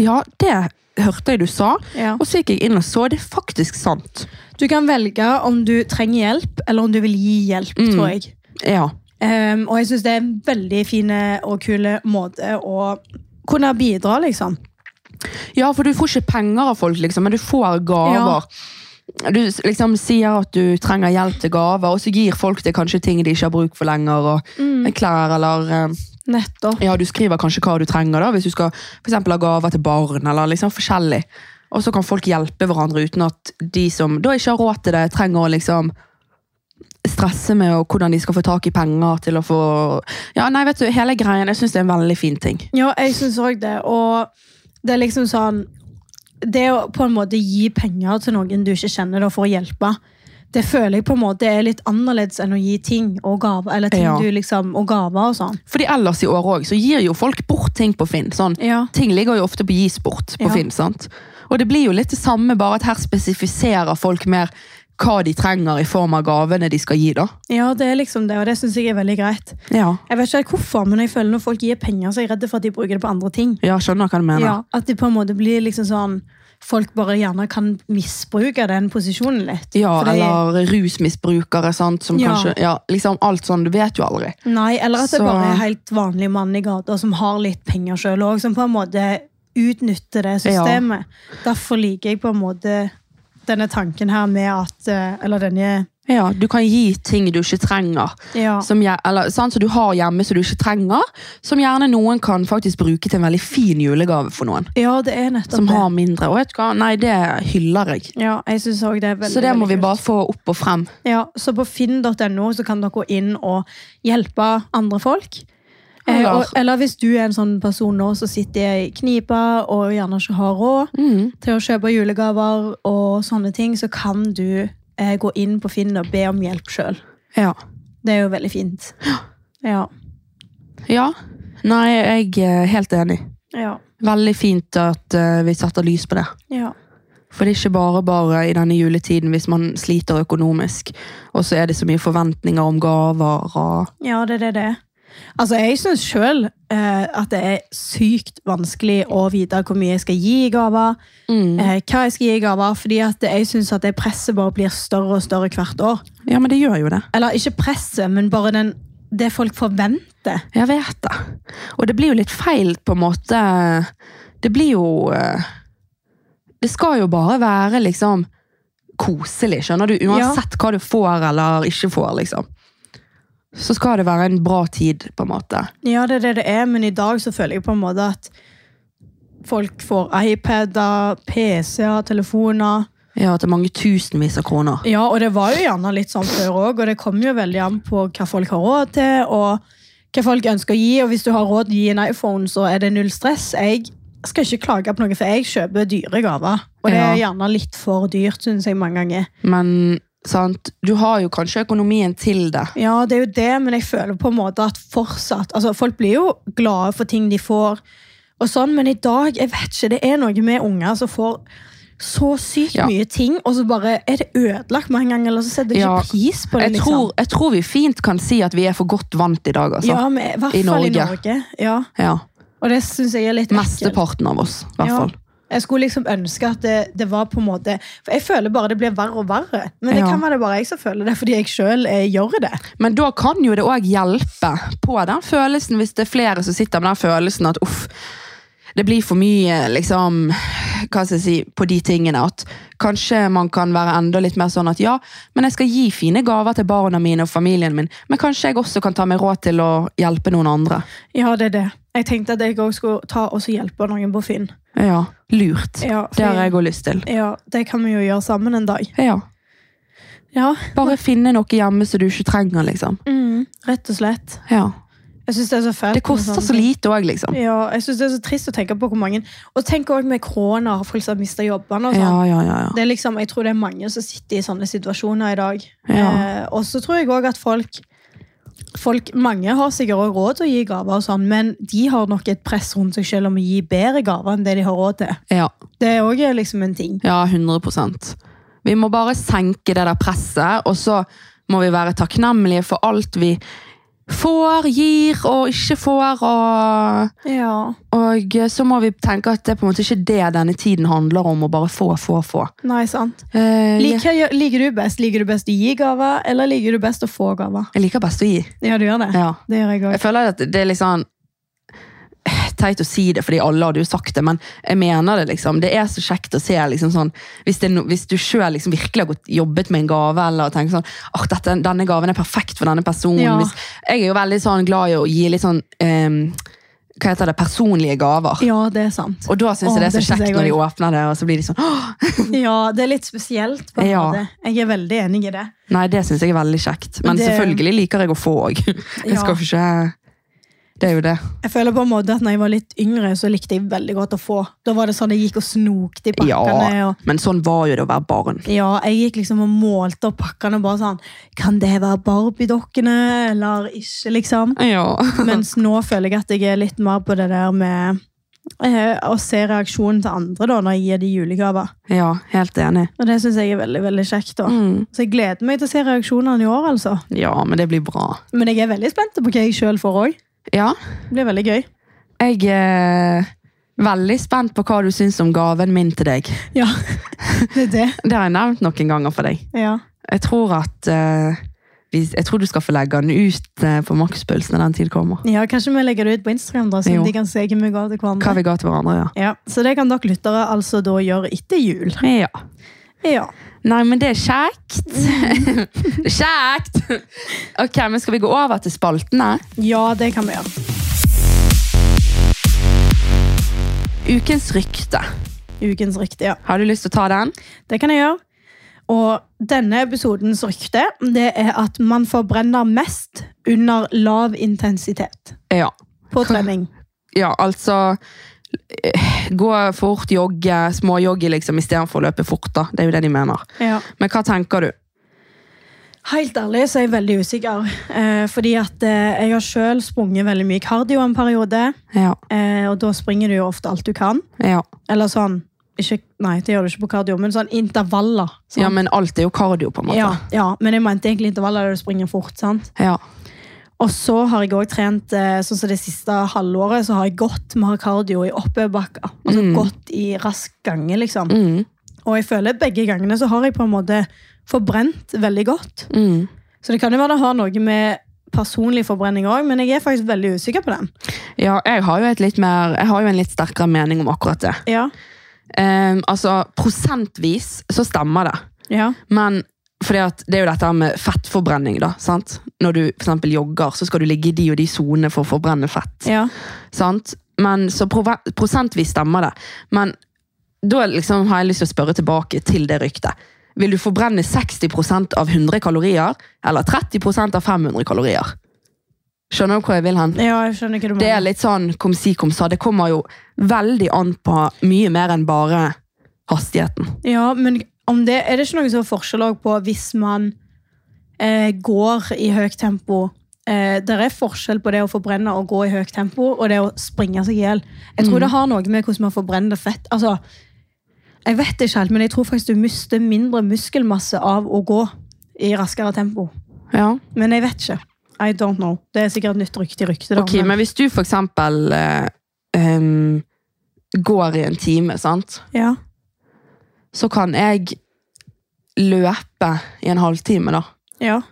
A: Ja, det hørte jeg du sa,
B: Ja.
A: og så gikk jeg inn og så. Det er faktisk sant.
B: Du kan velge om du trenger hjelp, eller om du vil gi hjelp,
A: Mm.
B: tror jeg.
A: Ja.
B: Ehm, og jeg syns det er en veldig fin og kul måte å kunne bidra, liksom.
A: ja, for du får ikke penger av folk, liksom, men du får
B: Ja.
A: gaver. Du s- liksom sier at du trenger hjelp til gaver, og så gir folk deg kanskje ting de ikke har bruk for lenger. Og Klær eller eh,
B: Nettopp.
A: Ja, du skriver kanskje hva du trenger da, hvis du skal for eksempel ha gaver til barn, eller liksom forskjellig. Og så kan folk hjelpe hverandre uten at de som da ikke har råd til det, trenger å liksom stresse med og hvordan de skal få tak i penger til å få Ja, nei, vet du, hele greien, jeg syns det er en veldig fin ting.
B: Ja, jeg syns òg det. Og det er liksom sånn Det å på en måte gi penger til noen du ikke kjenner da, for å hjelpe, det føler jeg på en måte er litt annerledes enn å gi ting og gaver. Eller ting
A: Ja.
B: du liksom, og gaver og sånn.
A: Fordi ellers i år òg, så gir jo folk bort ting på Finn. sånn.
B: Ja.
A: Ting ligger jo ofte på gis bort på
B: Ja.
A: Finn, sant? Og det blir jo litt det samme, bare at her spesifiserer folk mer hva de trenger i form av gavene de skal gi, da.
B: ja, det er liksom det, og det syns jeg er veldig greit.
A: Ja,
B: Jeg vet ikke helt hvorfor, men jeg føler når folk gir penger, så er jeg redd for at de bruker det på andre ting.
A: ja skjønner hva du mener.
B: Ja, At det på en måte blir liksom sånn Folk bare gjerne kan misbruke den posisjonen litt.
A: Ja,
B: Fordi-
A: eller rusmisbrukere, sant? Som
B: Ja.
A: kanskje, ja, liksom alt sånn, du vet jo aldri.
B: Nei, eller at det
A: Så-
B: bare er helt vanlige mann i gata som har litt penger sjøl òg, som på en måte utnytter det systemet. Derfor liker jeg på en måte denne tanken her med at eh, Eller denne
A: Ja, du kan gi ting du ikke trenger,
B: Ja.
A: som, gjer- eller, sant, som du har hjemme som du ikke trenger, som gjerne noen kan faktisk bruke til en veldig fin julegave for noen,
B: ja, det er nettopp
A: som
B: det.
A: har mindre. Og vet du hva? Nei, det hyller jeg.
B: Ja, jeg synes også det er veldig,
A: Så det må
B: veldig
A: vi
B: kult.
A: bare få opp og frem.
B: Ja, så på finn.no så kan dere gå inn og hjelpe andre folk. Eh,
A: Eller-
B: og, eller hvis du er en sånn person nå som sitter i knipa og gjerne ikke har råd til å kjøpe julegaver og sånne ting, så kan du eh, gå inn på Finn og be om hjelp sjøl.
A: Ja.
B: Det er jo veldig fint. Ja.
A: Ja. Nei, jeg er helt enig.
B: Ja.
A: Veldig fint at eh, vi setter lys på det.
B: Ja.
A: For det er ikke bare bare i denne juletiden hvis man sliter økonomisk, og så er det så mye forventninger om gaver og
B: ja, det er det det er. Altså, jeg syns sjøl at det er sykt vanskelig å vite hvor mye jeg skal gi i gaver. eh, hva jeg skal gi i gaver, fordi at jeg syns at det presset bare blir større og større hvert år.
A: Ja, men det gjør jo det.
B: Eller ikke presset, men bare den, det folk forventer.
A: Jeg vet det. Og det blir jo litt feil, på en måte. Det blir jo eh, Det skal jo bare være liksom koselig, skjønner du? Uansett hva du får eller ikke får, liksom. Så skal det være en bra tid, på en måte.
B: Ja, det er det det er, men i dag så føler jeg på en måte at folk får iPader, PC-er, telefoner.
A: Ja, til mange tusenvis av kroner.
B: Ja, og det var jo gjerne litt sånn før òg, og det kommer jo veldig an på hva folk har råd til, og hva folk ønsker å gi. Og hvis du har råd til å gi en iPhone, så er det null stress. Jeg skal ikke klage på noe, for jeg kjøper dyre gaver. Og det er
A: Ja.
B: gjerne litt for dyrt, syns jeg mange ganger.
A: Men sant, du har jo kanskje økonomien til det.
B: Ja, det er jo det, men jeg føler på en måte at fortsatt Altså, folk blir jo glade for ting de får, og sånn, men i dag, jeg vet ikke, det er noe med unger som får så sykt
A: Ja.
B: mye ting, og så bare er det ødelagt mange ganger, eller så setter de
A: Ja,
B: ikke pris på liksom. det.
A: Jeg tror, jeg tror vi fint kan si at vi er for godt vant i dag, altså.
B: Ja, men, i hvert
A: I
B: fall i
A: Norge.
B: Norge. Ja,
A: Ja.
B: og det syns jeg er litt ekkelt.
A: Mesteparten av oss, i hvert
B: Ja.
A: fall.
B: Jeg skulle liksom ønske at det, det var på en måte For jeg føler bare det blir verre og verre. Men det
A: Ja.
B: kan være det bare jeg som føler det, fordi jeg sjøl gjør det.
A: Men da kan jo det òg hjelpe på den følelsen, hvis det er flere som sitter med den følelsen at uff, det blir for mye liksom, hva skal jeg si, på de tingene. At kanskje man kan være enda litt mer sånn at ja, men jeg skal gi fine gaver til barna mine og familien min, men kanskje jeg også kan ta meg råd til å hjelpe noen andre.
B: Ja, det er det. Jeg tenkte at jeg òg skulle ta og så hjelpe noen på Finn.
A: Ja, lurt.
B: Ja,
A: Det har
B: for-
A: jeg òg lyst til.
B: ja, det kan vi jo gjøre sammen en dag.
A: Ja.
B: Ja,
A: Bare finne noe hjemme som du ikke trenger, liksom.
B: mm, Rett og slett.
A: Ja.
B: Jeg syns det er så fælt.
A: Det koster så lite òg, liksom.
B: Ja, jeg synes Det er så trist å tenke på hvor mange Og tenk òg med korona og folk som har mista jobbene. og sånn.
A: Ja, ja, ja. ja.
B: det er liksom, jeg tror det er mange som sitter i sånne situasjoner i dag.
A: Ja.
B: Eh, og så tror jeg òg at folk, folk Mange har sikkert også råd til å gi gaver, og sånn, men de har nok et press rundt seg selv om å gi bedre gaver enn det de har råd til.
A: ja.
B: Det er òg liksom en ting.
A: Ja, 100 Vi må bare senke det der presset, og så må vi være takknemlige for alt vi får, gir og ikke får. Og,
B: Ja.
A: og så må vi tenke at det er på en måte ikke det denne tiden handler om, å bare få, få, få.
B: Nei, sant.
A: Eh,
B: Liker, liker du best Liker du best å gi gaver, eller liker du best å få gaver?
A: Jeg liker best å gi.
B: Ja, du gjør det.
A: Ja.
B: Det gjør jeg
A: Jeg
B: òg.
A: føler at det er litt sånn eh, teit å si det, fordi alle hadde jo sagt det, men jeg mener det, liksom. Det er så kjekt å se, liksom sånn Hvis, det, er no- hvis du sjøl liksom virkelig har gått, jobbet med en gave, eller tenker sånn Åh, dette, denne gaven er perfekt for denne personen.
B: Ja.
A: Hvis, jeg er jo veldig sånn glad i å gi litt sånn ehm, Hva heter det? Personlige gaver.
B: Ja, det er sant.
A: Og da syns
B: Åh,
A: jeg det er så
B: det synes
A: kjekt
B: jeg
A: når de
B: også.
A: åpner det, og så blir de sånn Åh!
B: Ja, Det er litt spesielt. på en
A: Ja.
B: måte. Jeg er veldig enig i det.
A: Nei, det syns jeg er veldig kjekt. Men
B: Det-
A: selvfølgelig liker jeg å få òg. Jeg
B: Ja.
A: skal jo ikke Det er jo det.
B: Jeg føler på en måte at når jeg var litt yngre, så likte jeg veldig godt å få. Da var det sånn jeg gikk og snokte i pakkene.
A: Ja,
B: Og,
A: men sånn var jo det å være barn.
B: ja, jeg gikk liksom og målte opp pakkene og bare sånn Kan det være Barbie-dokkene, eller ikke, liksom?
A: Ja.
B: Mens nå føler jeg at jeg er litt mer på det der med eh, å se reaksjonen til andre da, når jeg gir de julegaver.
A: Ja, helt enig.
B: Og det syns jeg er veldig veldig kjekt. da. Så jeg gleder meg til å se reaksjonene i år, altså.
A: Ja, men det blir bra.
B: Men jeg er veldig spent på hva jeg sjøl får òg.
A: Ja,
B: Det blir veldig gøy.
A: jeg er veldig spent på hva du syns om gaven min til deg.
B: Ja, det er det.
A: Det har jeg nevnt noen ganger for deg.
B: Ja.
A: Jeg tror at eh, vi- Jeg tror du skal få legge den ut eh, på makspuls når den tid kommer.
B: Ja, Kanskje vi legger det ut på Instagram, da, så
A: Jo.
B: de kan se hvem vi ga til hverandre.
A: Hva vi ga til hverandre, ja.
B: Ja, Så det kan dere lyttere altså da gjøre etter jul.
A: Ja.
B: Ja.
A: Nei, men det er kjekt. det er kjekt! Ok, men skal vi gå over til spaltene?
B: ja, det kan vi gjøre.
A: Ukens rykte.
B: Ukens rykte, ja.
A: Har du lyst til å ta den?
B: Det kan jeg gjøre. Og denne episodens rykte det er at man forbrenner mest under lav intensitet
A: Ja.
B: på trening.
A: ja, altså eh, Gå fort, jogge, småjogge liksom, istedenfor å løpe fort. da. Det er jo det de mener.
B: Ja.
A: Men hva tenker du?
B: Helt ærlig så er jeg veldig usikker. Eh, fordi at eh, jeg har sjøl sprunget veldig mye kardio en periode.
A: Ja,
B: Eh, og da springer du jo ofte alt du kan.
A: ja.
B: Eller sånn ikke, Nei, det gjør du ikke på kardio, men sånn intervaller. sant?
A: ja men alt er jo kardio, på en måte.
B: Ja, ja, men jeg mente egentlig intervaller der du springer fort. sant?
A: Ja.
B: Og så har jeg òg trent eh, sånn som det siste halvåret, så har jeg gått med kardio i oppoverbakker. Altså gått i rask gange, liksom.
A: Mm.
B: Og jeg føler begge gangene så har jeg på en måte forbrent veldig godt.
A: Mm.
B: Så det kan jo være det har noe med personlig forbrenning òg, men jeg er faktisk veldig usikker på den.
A: Ja, jeg har, jo et litt mer, jeg har jo en litt sterkere mening om akkurat det.
B: Ja,
A: Eh, altså, prosentvis så stemmer det.
B: ja,
A: Men fordi at det er jo dette her med fettforbrenning. da, sant? Når du for eksempel jogger, så skal du ligge i de og de sonene for å forbrenne fett.
B: ja.
A: sant? Men Så prove- prosentvis stemmer det. Men da liksom har jeg lyst til å spørre tilbake til det ryktet. Vil du forbrenne 60 av 100 kalorier, eller 30 av 500 kalorier? Skjønner du hvor jeg vil hen?
B: ja jeg skjønner hva du
A: Det er
B: mener.
A: litt sånn kom si, kom sa. Det kommer jo veldig an på mye mer enn bare hastigheten.
B: Ja, men om det, er det ikke noe sånn forskjell også på hvis man eh, går i høyt tempo? Eh, det er forskjell på det å forbrenne og gå i høyt tempo, og det å springe seg i hjel. Jeg
A: Mm.
B: tror det har noe med hvordan man forbrenner fett. Altså, jeg vet ikke helt, men jeg tror faktisk du mister mindre muskelmasse av å gå i raskere tempo.
A: Ja.
B: Men jeg vet ikke. I don't know. Det er sikkert et nytt rykte i ryktet. da,
A: Ok, men hvis du for eksempel eh, em, går i en time, sant?
B: ja.
A: så kan jeg løpe i en halvtime, da.
B: Ja.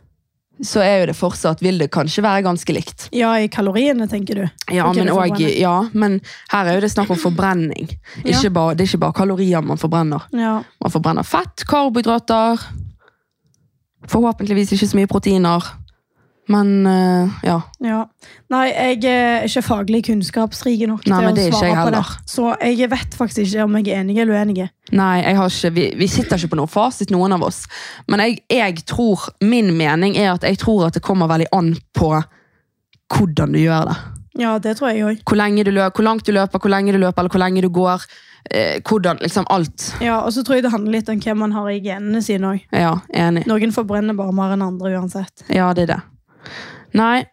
A: Så er jo det fortsatt, vil det kanskje være ganske likt.
B: ja, i kaloriene, tenker du.
A: Ja,
B: Ok,
A: men,
B: det får
A: og,
B: brenne.
A: ja, men her er jo det snakk om forbrenning.
B: Ja.
A: Ikke bare, det er ikke bare kalorier man forbrenner.
B: Ja.
A: Man forbrenner fett, karbohydrater, forhåpentligvis ikke så mye proteiner. Men eh, ja,
B: Ja. Nei, jeg er ikke faglig kunnskapsrik nok
A: Nei, men
B: til
A: det er
B: å
A: ikke
B: svare
A: jeg
B: på det.
A: heller.
B: Så jeg vet faktisk ikke om jeg er enig eller uenig.
A: Nei, jeg har ikke, vi, vi sitter ikke på noen fasit, noen av oss. Men jeg, jeg tror, min mening er at jeg tror at det kommer veldig an på hvordan du gjør det.
B: Ja, det tror jeg òg.
A: Hvor, lenge du løp, hvor langt du løper, hvor lenge du løper, eller hvor lenge du går. Eh, hvordan, liksom alt.
B: Ja, og så tror jeg det handler litt om hva man har i genene sine òg.
A: Ja, enig.
B: Noen forbrenner bare mer enn andre uansett.
A: Ja, det er det. Nei,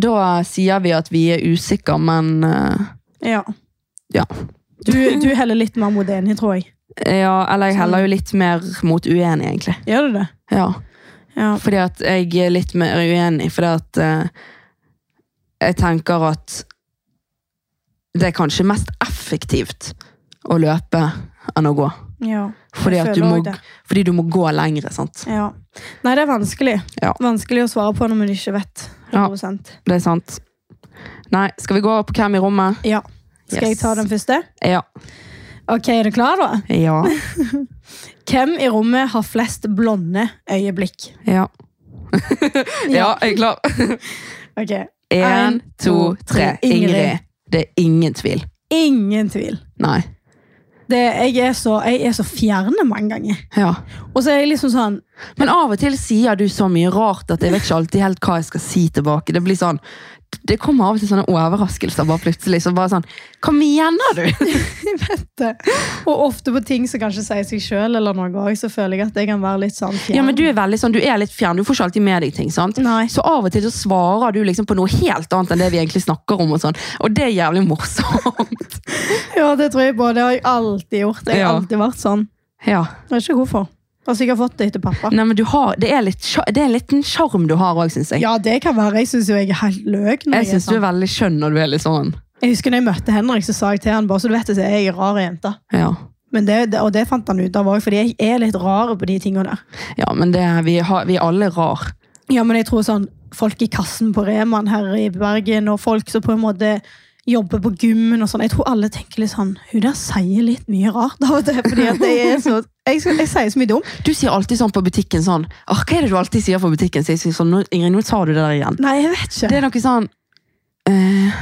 A: da sier vi at vi er usikre, men eh,
B: Ja.
A: ja.
B: Du, du heller litt mer mot enig, tror jeg.
A: ja. Eller jeg heller jo litt mer mot uenig, egentlig.
B: Gjør du det?
A: Ja.
B: Ja.
A: Fordi at jeg er litt mer uenig, fordi at eh, jeg tenker at det er kanskje mest effektivt å løpe enn å gå.
B: ja.
A: Fordi,
B: Jeg
A: at du
B: føler
A: må,
B: også det.
A: fordi du må gå lengre, sant?
B: ja. Nei, det er vanskelig.
A: Ja.
B: Vanskelig å svare på når man ikke vet.
A: Ja.
B: 100
A: Det er sant. Nei, skal vi gå over på hvem i rommet?
B: Ja. Skal jeg
A: Yes.
B: ta den første?
A: Ja.
B: Ok, Er du klar, da?
A: Ja.
B: Hvem i rommet har flest blonde øyeblikk?
A: Ja, ja jeg er klar.
B: Ok,
A: Én, to, tre. Ingrid. Det er ingen tvil.
B: Ingen tvil.
A: Nei.
B: Det, jeg, er så, jeg er så fjerne mange ganger.
A: Ja.
B: Og så er jeg liksom sånn
A: Men av og til sier du så mye rart at jeg vet ikke alltid helt hva jeg skal si tilbake. Det blir sånn, det kommer av og til sånne overraskelser bare plutselig. Så bare sånn, Hva mener du?
B: det. Og ofte på ting som kanskje sier seg sjøl eller noe òg, så føler jeg at jeg kan være litt sånn fjern.
A: Ja, men Du er veldig sånn, du er litt fjern. Du får ikke alltid med deg ting. sant?
B: Nei.
A: Så av og til så svarer du liksom på noe helt annet enn det vi egentlig snakker om. Og sånn. Og det er jævlig morsomt.
B: Ja, det tror jeg på. Det har jeg alltid gjort. Jeg har
A: Ja.
B: alltid vært sånn.
A: Ja.
B: Jeg vet ikke hvorfor. Altså, jeg har fått det etter pappa.
A: Nei, men du har, Det er, litt, sjar- det er en liten sjarm du har òg, syns jeg.
B: Ja, det kan være. Jeg syns jo jeg er helt løk. Når
A: jeg
B: jeg,
A: syns du
B: er
A: er
B: sånn.
A: veldig skjønn når du er litt sånn.
B: jeg husker når jeg møtte Henrik, så sa jeg til han bare så du vet det, så er jeg en rar jente.
A: Ja,
B: Men det, det, og det fant han ut av òg, fordi jeg er litt rar på de tingene der.
A: ja men det, er- vi, har, vi er alle rar.
B: Ja, men jeg tror sånn folk i kassen på Reman her i Bergen, og folk som på en måte jobber på gymmen og sånn. Jeg tror alle tenker litt sånn Hun der sier litt mye rart av og til. Fordi at jeg er så Jeg, skal- jeg sier så mye dumt.
A: Du sier alltid sånn på butikken sånn «Åh, Hva er det du alltid sier på butikken? Så jeg sier sånn, nå, Ingrid, nå tar du det der igjen.
B: Nei, jeg vet
A: Det
B: ikke.
A: er noe sånn eh,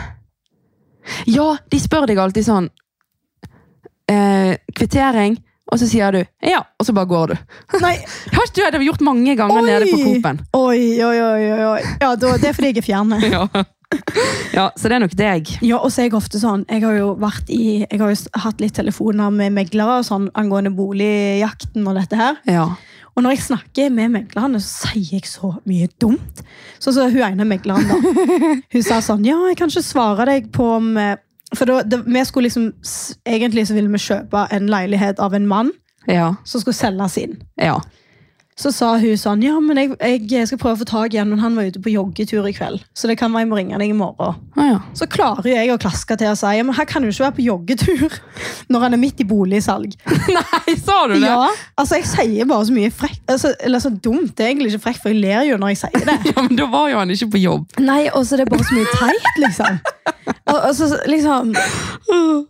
A: Ja, de spør deg alltid sånn eh, Kvittering. Og så sier du ja, og så bare går du.
B: Nei.
A: Har ikke du det har vi gjort mange ganger nede på Coop-en?
B: Oi, oi, oi, oi, oi. Ja, da, det er fordi jeg er fjern.
A: Ja. ja, så det er nok deg.
B: Ja, og så er jeg ofte sånn Jeg har jo vært i Jeg har jo s- hatt litt telefoner med meglere og sånn angående boligjakten og dette her.
A: Ja.
B: Og når jeg snakker med meglerne, så sier jeg så mye dumt. Sånn som hun ene megleren, da. Hun sa sånn Ja, jeg kan ikke svare deg på om eh," For da, det, vi skulle liksom s- Egentlig så ville vi kjøpe en leilighet av en mann
A: Ja.
B: som skulle selges inn.
A: ja.
B: Så sa hun sånn Ja, men jeg, jeg skal prøve å få tak i han, men han var ute på joggetur i kveld. Så det kan være jeg må ringe deg i morgen.
A: Å ja.
B: Så klarer jo jeg å klaske til og si ja, men her kan du ikke være på joggetur når han er midt i boligsalg.
A: Nei, sa du det?
B: Ja, altså Jeg sier bare så mye frekt. Altså, eller så dumt. Det er egentlig ikke frekt, for jeg ler jo når jeg sier det.
A: Ja, men da var jo han ikke på jobb.
B: Nei, og så er det bare så mye teit, liksom. Al altså, liksom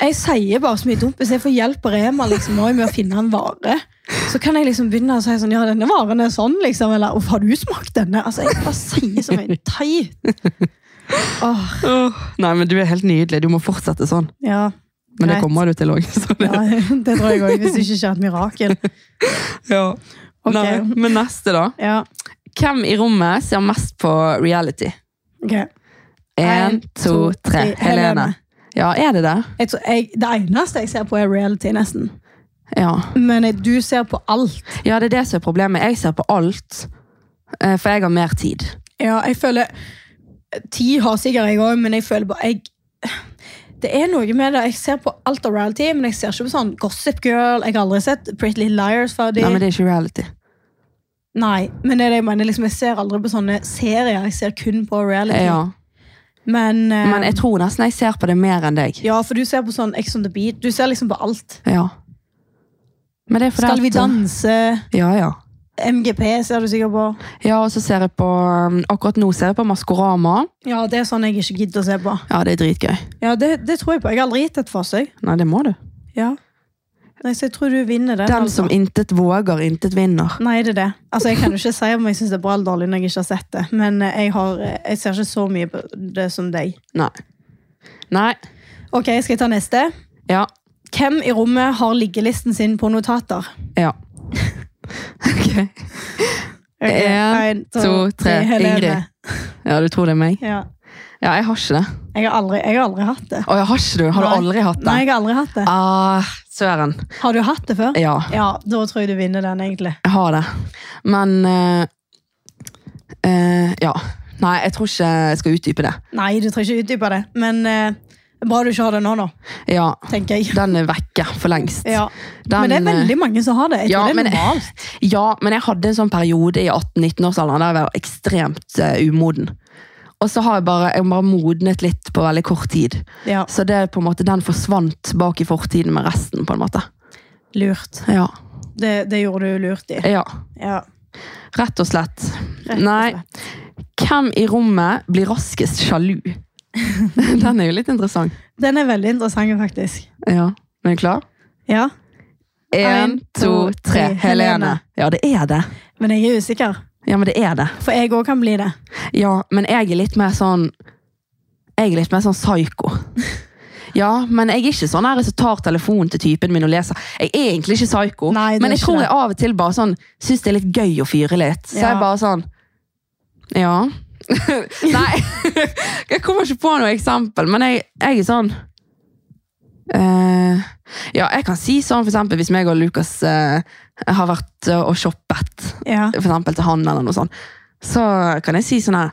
B: Jeg sier bare så mye dumt. Hvis jeg får hjelp på Rema liksom, nå med å finne en vare, så kan jeg liksom begynne å si sånn Ja, denne varen er sånn, liksom. Eller Uff, har du smakt denne? Altså, Jeg bare sier så mye teit. Åh,
A: Nei, men du er helt nydelig. Du må fortsette sånn.
B: ja.
A: Men det
B: Greit.
A: kommer du til òg. Sånn er
B: ja, det tror jeg òg, hvis det ikke skjer et mirakel.
A: det. Ja.
B: Ok.
A: Nei, men neste, da.
B: Ja,
A: Hvem i rommet ser mest på reality?
B: ok.
A: Én, to, tre. Helene. Ja, er det det?
B: Jeg tror jeg, det eneste jeg ser på, er reality, nesten.
A: Ja.
B: Men jeg, du ser på alt.
A: ja, det er det som er problemet. Jeg ser på alt. eh, For jeg har mer tid.
B: Ja, jeg føler Ti har sikkert jeg òg, men jeg føler bare jeg, Det er noe med det. Jeg ser på alt av reality, men jeg ser ikke på sånn Gossip Girl. Jeg har aldri sett Pretty Little Liars ferdig.
A: Nei, men det er ikke reality.
B: Nei, men det er det jeg mener. Liksom, jeg ser aldri på sånne serier. Jeg ser kun på reality.
A: Ja.
B: Men, eh,
A: Men jeg tror nesten jeg ser på det mer enn deg.
B: ja, for du ser på sånn Ex on the Beat. Du ser liksom på alt.
A: Ja. Men det er fordi
B: Skal vi
A: at-
B: danse?
A: Ja, ja.
B: MGP ser du sikkert på.
A: Ja, og så ser jeg på um, Akkurat nå ser jeg på Maskorama.
B: Ja, det er sånn jeg ikke gidder å se på.
A: Ja, det er dritgøy.
B: Ja, det, det tror jeg på. Jeg har aldri gitt et forsøk.
A: Nei, det må du.
B: Ja. Nei, så jeg tror du vinner den.
A: Den
B: altså.
A: som intet våger, intet vinner.
B: Nei, det er det. Altså, Jeg kan jo ikke si om jeg syns det er bra eller dårlig når jeg ikke har sett det. Men eh, jeg, har, eh, jeg ser ikke så mye på det som deg.
A: Nei. Nei.
B: Ok, skal jeg ta neste?
A: Ja.
B: Hvem i rommet har liggelisten sin på notater?
A: Ja. ok. En,
B: Ok, en,
A: to, tre.
B: Helene.
A: Ingrid. Ja, du tror det er meg?
B: Ja.
A: Ja, jeg har ikke det.
B: Jeg, har aldri, jeg har aldri hatt det.
A: Å, jeg har ikke det. Har du
B: Nei.
A: aldri hatt det?
B: Nei, jeg har aldri hatt det.
A: Ah, søren.
B: Har du hatt det før?
A: Ja,
B: Ja, da tror jeg du vinner den, egentlig.
A: jeg har det. Men eh, eh, Ja. Nei, jeg tror ikke jeg skal utdype det.
B: Nei, du trenger ikke utdype det. Men eh, bra du ikke har det nå, da,
A: Ja.
B: tenker jeg.
A: Den er vekke for lengst.
B: Ja.
A: Den,
B: men det er
A: eh,
B: veldig mange som har det. Jeg
A: Ja,
B: tror det
A: men-
B: er normalt.
A: Ja, men jeg hadde en sånn periode i 18-19-årsalderen der jeg var ekstremt eh, umoden. Og så har jeg bare, jeg har bare modnet litt på veldig kort tid.
B: Ja,
A: Så det er på en måte, den forsvant bak i fortiden med resten, på en måte.
B: lurt.
A: Ja.
B: Det, det gjorde du lurt i.
A: ja.
B: Ja.
A: Rett og slett.
B: og
A: Nei. Hvem i rommet blir raskest sjalu? den er jo litt interessant.
B: Den er veldig interessant, faktisk.
A: Ja. Er du klar?
B: Ja,
A: En, to, tre. Helene. Ja, det er det.
B: Men jeg er usikker,
A: Ja, men det er det.
B: for jeg òg kan bli det.
A: Ja, men jeg er litt mer sånn Jeg er litt mer sånn psyko. Ja, men jeg er ikke sånn her som tar telefonen til typen min og leser. Jeg er egentlig ikke psyko,
B: Nei, du
A: men
B: er
A: jeg
B: ikke
A: tror
B: det.
A: jeg av og til bare sånn syns det er litt gøy å fyre litt. Så
B: Ja.
A: jeg bare sånn Ja. Nei, jeg kommer ikke på noe eksempel, men jeg, jeg er sånn eh, Ja, jeg kan si sånn for eksempel hvis meg og Lukas eh, har vært eh, og shoppet
B: Ja.
A: for eksempel til han eller noe sånt, så kan jeg si sånn her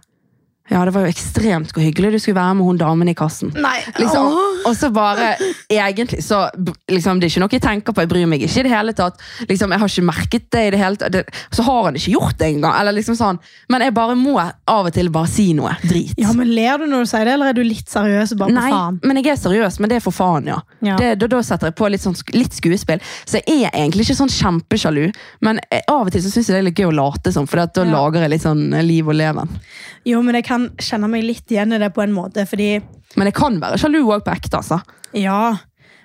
A: Ja, det var jo ekstremt hvor hyggelig du skulle være med hun damen i kassen.
B: Nei,
A: Liksom,
B: åh.
A: og så bare Egentlig så b- liksom, Det er ikke noe jeg tenker på. Jeg bryr meg ikke i det hele tatt. Liksom, jeg har ikke merket det i det hele tatt. Det, så har han ikke gjort det engang. Eller liksom sånn. Men jeg bare må av og til bare si noe drit.
B: Ja, men Ler du når du sier det, eller er du litt seriøs? og bare
A: Nei,
B: på faen?
A: men jeg er seriøs, men det er for faen, ja.
B: Ja.
A: Det, da, da setter jeg på litt, sånn, sk- litt skuespill. Så jeg er egentlig ikke sånn kjempesjalu, men jeg, av og til så syns jeg det er litt gøy å late som, for da
B: Ja.
A: lager jeg litt sånn eh, liv og leven.
B: Jo, men jeg kan kjenne meg litt igjen i det på en måte, fordi
A: Men jeg kan være sjalu òg på ekte, altså.
B: Ja.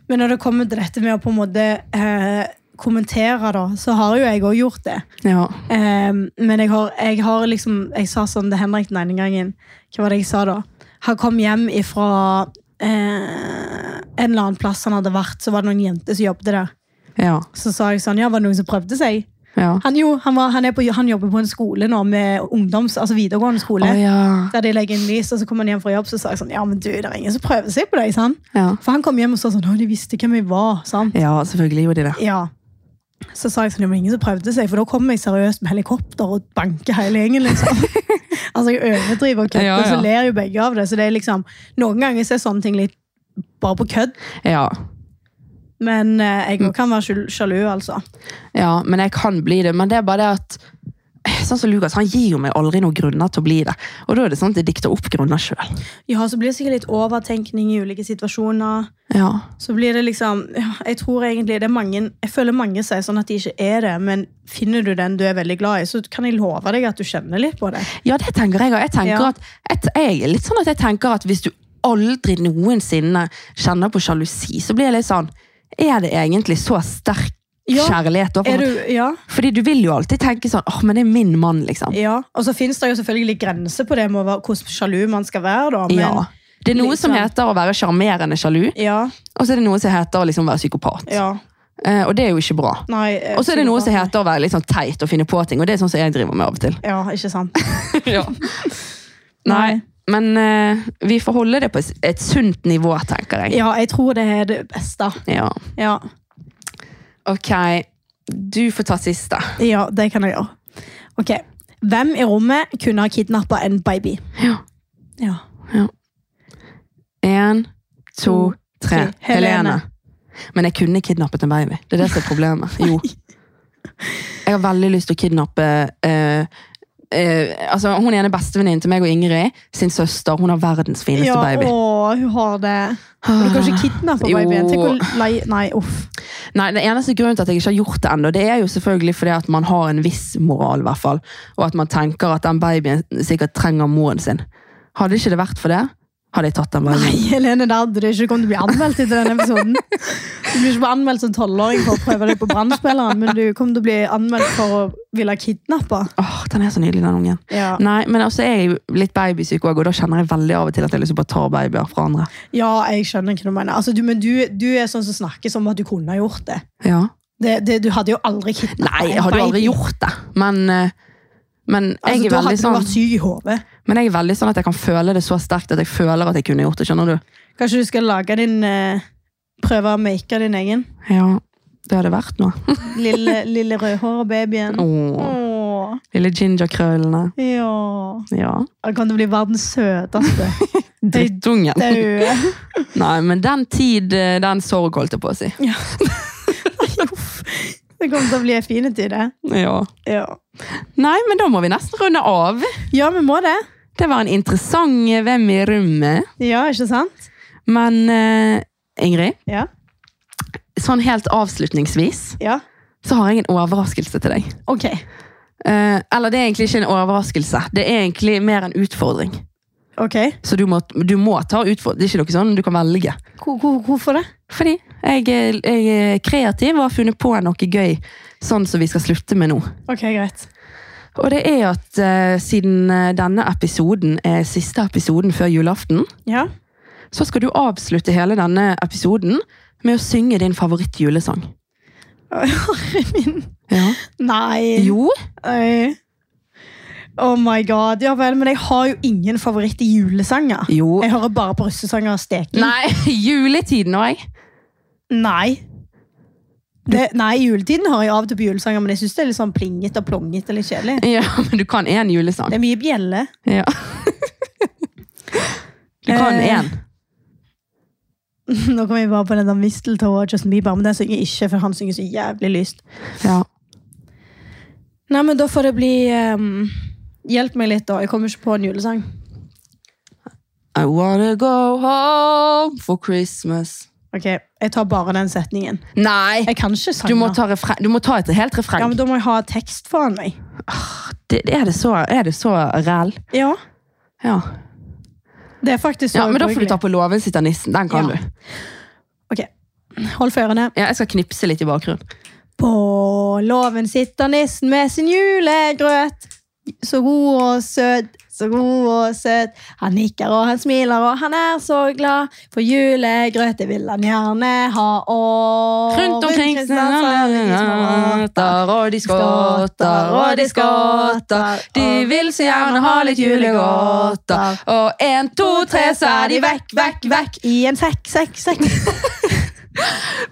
B: Men når det kommer til dette med å på en måte eh, kommentere, da, så har jo jeg òg gjort det.
A: Ja.
B: Ehm, men jeg har, jeg har liksom Jeg sa sånn til Henrik den ene gangen. Hva var det jeg sa da? Han kom hjem ifra eh, en eller annen plass han hadde vært, så var det noen jenter som jobbet der.
A: Ja.
B: Så sa jeg sånn, ja, var det noen som prøvde seg?
A: ja.
B: Han jo, han, var, han, er på, han jobber på en skole nå med ungdoms, altså videregående skole.
A: Å ja.
B: Der de legger inn lys, og så kom han hjem fra jobb, så sa jeg sånn, ja, men du, det er ingen som prøver seg på deg, sa han.
A: ja.
B: For han kom hjem og sa sånn, å, de visste hvem jeg var, sant?
A: Ja, selvfølgelig gjorde de det.
B: Ja. Så sa jeg sånn, det var ingen som prøvde seg, for da kommer jeg seriøst med helikopter og banker hele gjengen, liksom. altså, jeg overdriver og kødder,
A: Ja, ja.
B: så ler jo begge av det. Så det er liksom, noen ganger så er sånne ting litt bare på kødd,
A: Ja.
B: men eh, jeg også kan være sjul- sjalu, altså.
A: ja, men jeg kan bli det. Men det er bare det at Sånn som Lukas, han gir jo meg aldri noen grunner til å bli det. Og da er det sånn at jeg dikter opp grunner sjøl.
B: Ja, så blir det sikkert litt overtenkning i ulike situasjoner.
A: Ja.
B: Så blir det liksom ja, Jeg tror egentlig det er mange Jeg føler mange sier sånn at de ikke er det, men finner du den du er veldig glad i, så kan jeg love deg at du kjenner litt på det.
A: ja, det tenker jeg òg. Jeg, tenker
B: Ja.
A: at- jeg, jeg er litt sånn at jeg tenker at hvis du aldri noensinne kjenner på sjalusi, så blir jeg litt sånn Er det egentlig så sterk
B: Ja,
A: kjærlighet? da? For-
B: Er du, ja,
A: Fordi du vil jo alltid tenke sånn åh, men det er min mann, liksom.
B: ja. Og så fins det jo selvfølgelig grenser på det med å være- hvordan sjalu man skal være, da. Men,
A: ja. Det er noe som
B: liksom-
A: heter å være sjarmerende sjalu,
B: ja.
A: og så er det noe som heter å liksom være psykopat.
B: Ja.
A: Eh, og det er jo ikke bra.
B: Nei. eh,
A: Og så er det noe som
B: psykopat.
A: heter å være litt sånn teit og finne på ting, og det er sånn som jeg driver med av og til.
B: Ja, ikke sant.
A: Nei.
B: Nei.
A: Men eh, vi får holde det på et, et sunt nivå, tenker jeg.
B: Ja, jeg tror det er det beste.
A: Ja.
B: Ja,
A: Ok, du får ta siste.
B: ja det kan jeg gjøre. Ok. Hvem i rommet kunne ha kidnappa en baby?
A: Ja.
B: Ja.
A: En, to,
B: To,
A: tre.
B: tre.
A: Helene. Men jeg kunne kidnappet en baby. Det er det som er problemet. Jo. Jeg har veldig lyst til å kidnappe eh, eh, altså, Hun ene bestevenninnen til meg og Ingrid, sin søster, hun har verdens fineste
B: ja
A: baby.
B: Å, hun har det. Men Du kan ikke kidnappe
A: Jo.
B: babyen. Tenk å lei... Nei, uff.
A: Nei, Den eneste grunnen til at jeg ikke har gjort det ennå, det er jo selvfølgelig fordi at man har en viss moral, i hvert fall. Og at man tenker at den babyen sikkert trenger moren sin. Hadde ikke det vært for det, hadde jeg tatt den
B: Nei,
A: babyen.
B: Helene, det hadde du ikke kommet til å bli anmeldt etter denne episoden. Du blir ikke bare anmeldt som tolvåring for å prøve deg på brannspilleren, men du kommer til å bli anmeldt for å ville kidnappe.
A: Åh, den er så nydelig, den ungen.
B: Ja.
A: Nei, men altså, jeg er jo litt babysyk også, og da kjenner jeg veldig av og til at jeg liksom bare tar babyer fra andre.
B: ja, jeg skjønner hva du mener. Altså, du, men du, du er sånn som snakker som at du kunne ha gjort det.
A: Ja.
B: det, det du hadde jo aldri kidnappet
A: Nei, jeg
B: en
A: hadde jo aldri
B: baby.
A: gjort det, men, eh, men,
B: Altså,
A: jeg er veldig
B: da hadde du
A: sånn,
B: vært syk i hodet.
A: men jeg er veldig sånn at jeg kan føle det så sterkt at jeg føler at jeg kunne gjort det, skjønner du?
B: Kanskje du skal lage din eh, Prøve å make din egen.
A: Ja, det hadde vært noe.
B: Lille, lille rødhåra babyen.
A: Åh,
B: Åh,
A: lille gingerkrøllene.
B: ja.
A: Ja.
B: Det kommer til å bli verdens søteste. De
A: Drittungen.
B: daue.
A: Nei, men den tid, eh, den sorg holdt jeg på å si.
B: Det kommer til å bli en fin tid, det.
A: Ja.
B: Ja.
A: Nei, men da må vi nesten runde av.
B: ja, vi må det.
A: Det var en interessant eh, Hvem i rommet.
B: Ja, ikke sant?
A: Men eh, Ingrid,
B: Ja.
A: sånn helt avslutningsvis,
B: ja.
A: så har jeg en overraskelse til deg.
B: Ok.
A: Eh, eller det er egentlig ikke en overraskelse. Det er egentlig mer en utfordring.
B: ok.
A: Så du må, du må ta utfordring. Det er ikke noe sånn du kan velge.
B: Hvor- hvor- Hvorfor det?
A: Fordi jeg, er- jeg er kreativ og har funnet på noe gøy, sånn som vi skal slutte med nå.
B: Ok, greit.
A: Og det er at eh, siden eh, denne episoden er siste episoden før julaften,
B: Ja.
A: så skal du avslutte hele denne episoden med å synge din favorittjulesang.
B: Harry min.
A: Ja.
B: Nei.
A: Jo,
B: Oi. Oh my god. Ja vel, men jeg har jo ingen favoritt i julesanger.
A: jo.
B: Jeg hører bare på russesanger og steking.
A: Nei, juletiden òg.
B: Nei. Det, nei, i juletiden hører jeg av og til på julesanger, men jeg syns det er litt sånn plingete og plongete og litt kjedelig.
A: Ja, men du kan én julesang.
B: Det er mye bjelle.
A: Ja. Du kan
B: Eh.
A: én.
B: Nå kommer jeg bare på den der Mistletoe og Justin Bieber, men den synger jeg ikke, for han synger så jævlig lyst.
A: Ja.
B: Nei, men da får det bli ehm, Hjelp meg litt, da. Jeg kommer ikke på en julesang.
A: I wanna go home for Christmas.
B: Ok, Jeg tar bare den setningen.
A: Nei!
B: Jeg kan ikke sange.
A: Du må ta, refre- du må ta et helt refreng.
B: Ja, men Da må jeg ha tekst foran meg.
A: det, er, det så, er det så ræl?
B: Ja,
A: Ja.
B: det er faktisk så
A: ja, men da får du
B: ubrukelig.
A: ta på låven sitter nissen. Den kan
B: Ja.
A: du.
B: Ok, hold for ørene.
A: Ja, jeg skal knipse litt i bakgrunnen.
B: På låven sitter nissen med sin julegrøt. Så god og søt, så god og søt. Han nikker og han smiler og han er så glad. For julegrøt det vil han gjerne ha. Og
A: Rundt omkring
B: Kristiansand er de små
A: skotter, og de
B: åter.
A: skotter, og de skotter. De vil så gjerne ha litt julegodter. Og en, to, tre, så er de vekk, vekk, vekk.
B: I en sekk, sekk, sekk.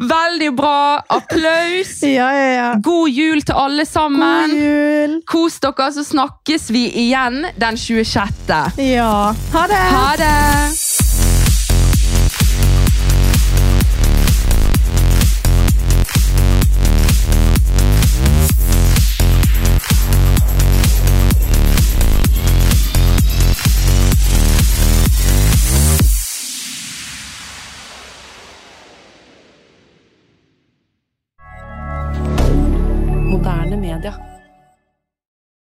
A: Veldig bra. Applaus.
B: Ja, ja, ja.
A: God jul til alle
B: God
A: sammen.
B: jul.
A: Kos dere, så snakkes vi igjen den 26.
B: Ja. Ha det.
A: Ha det! Moderne media.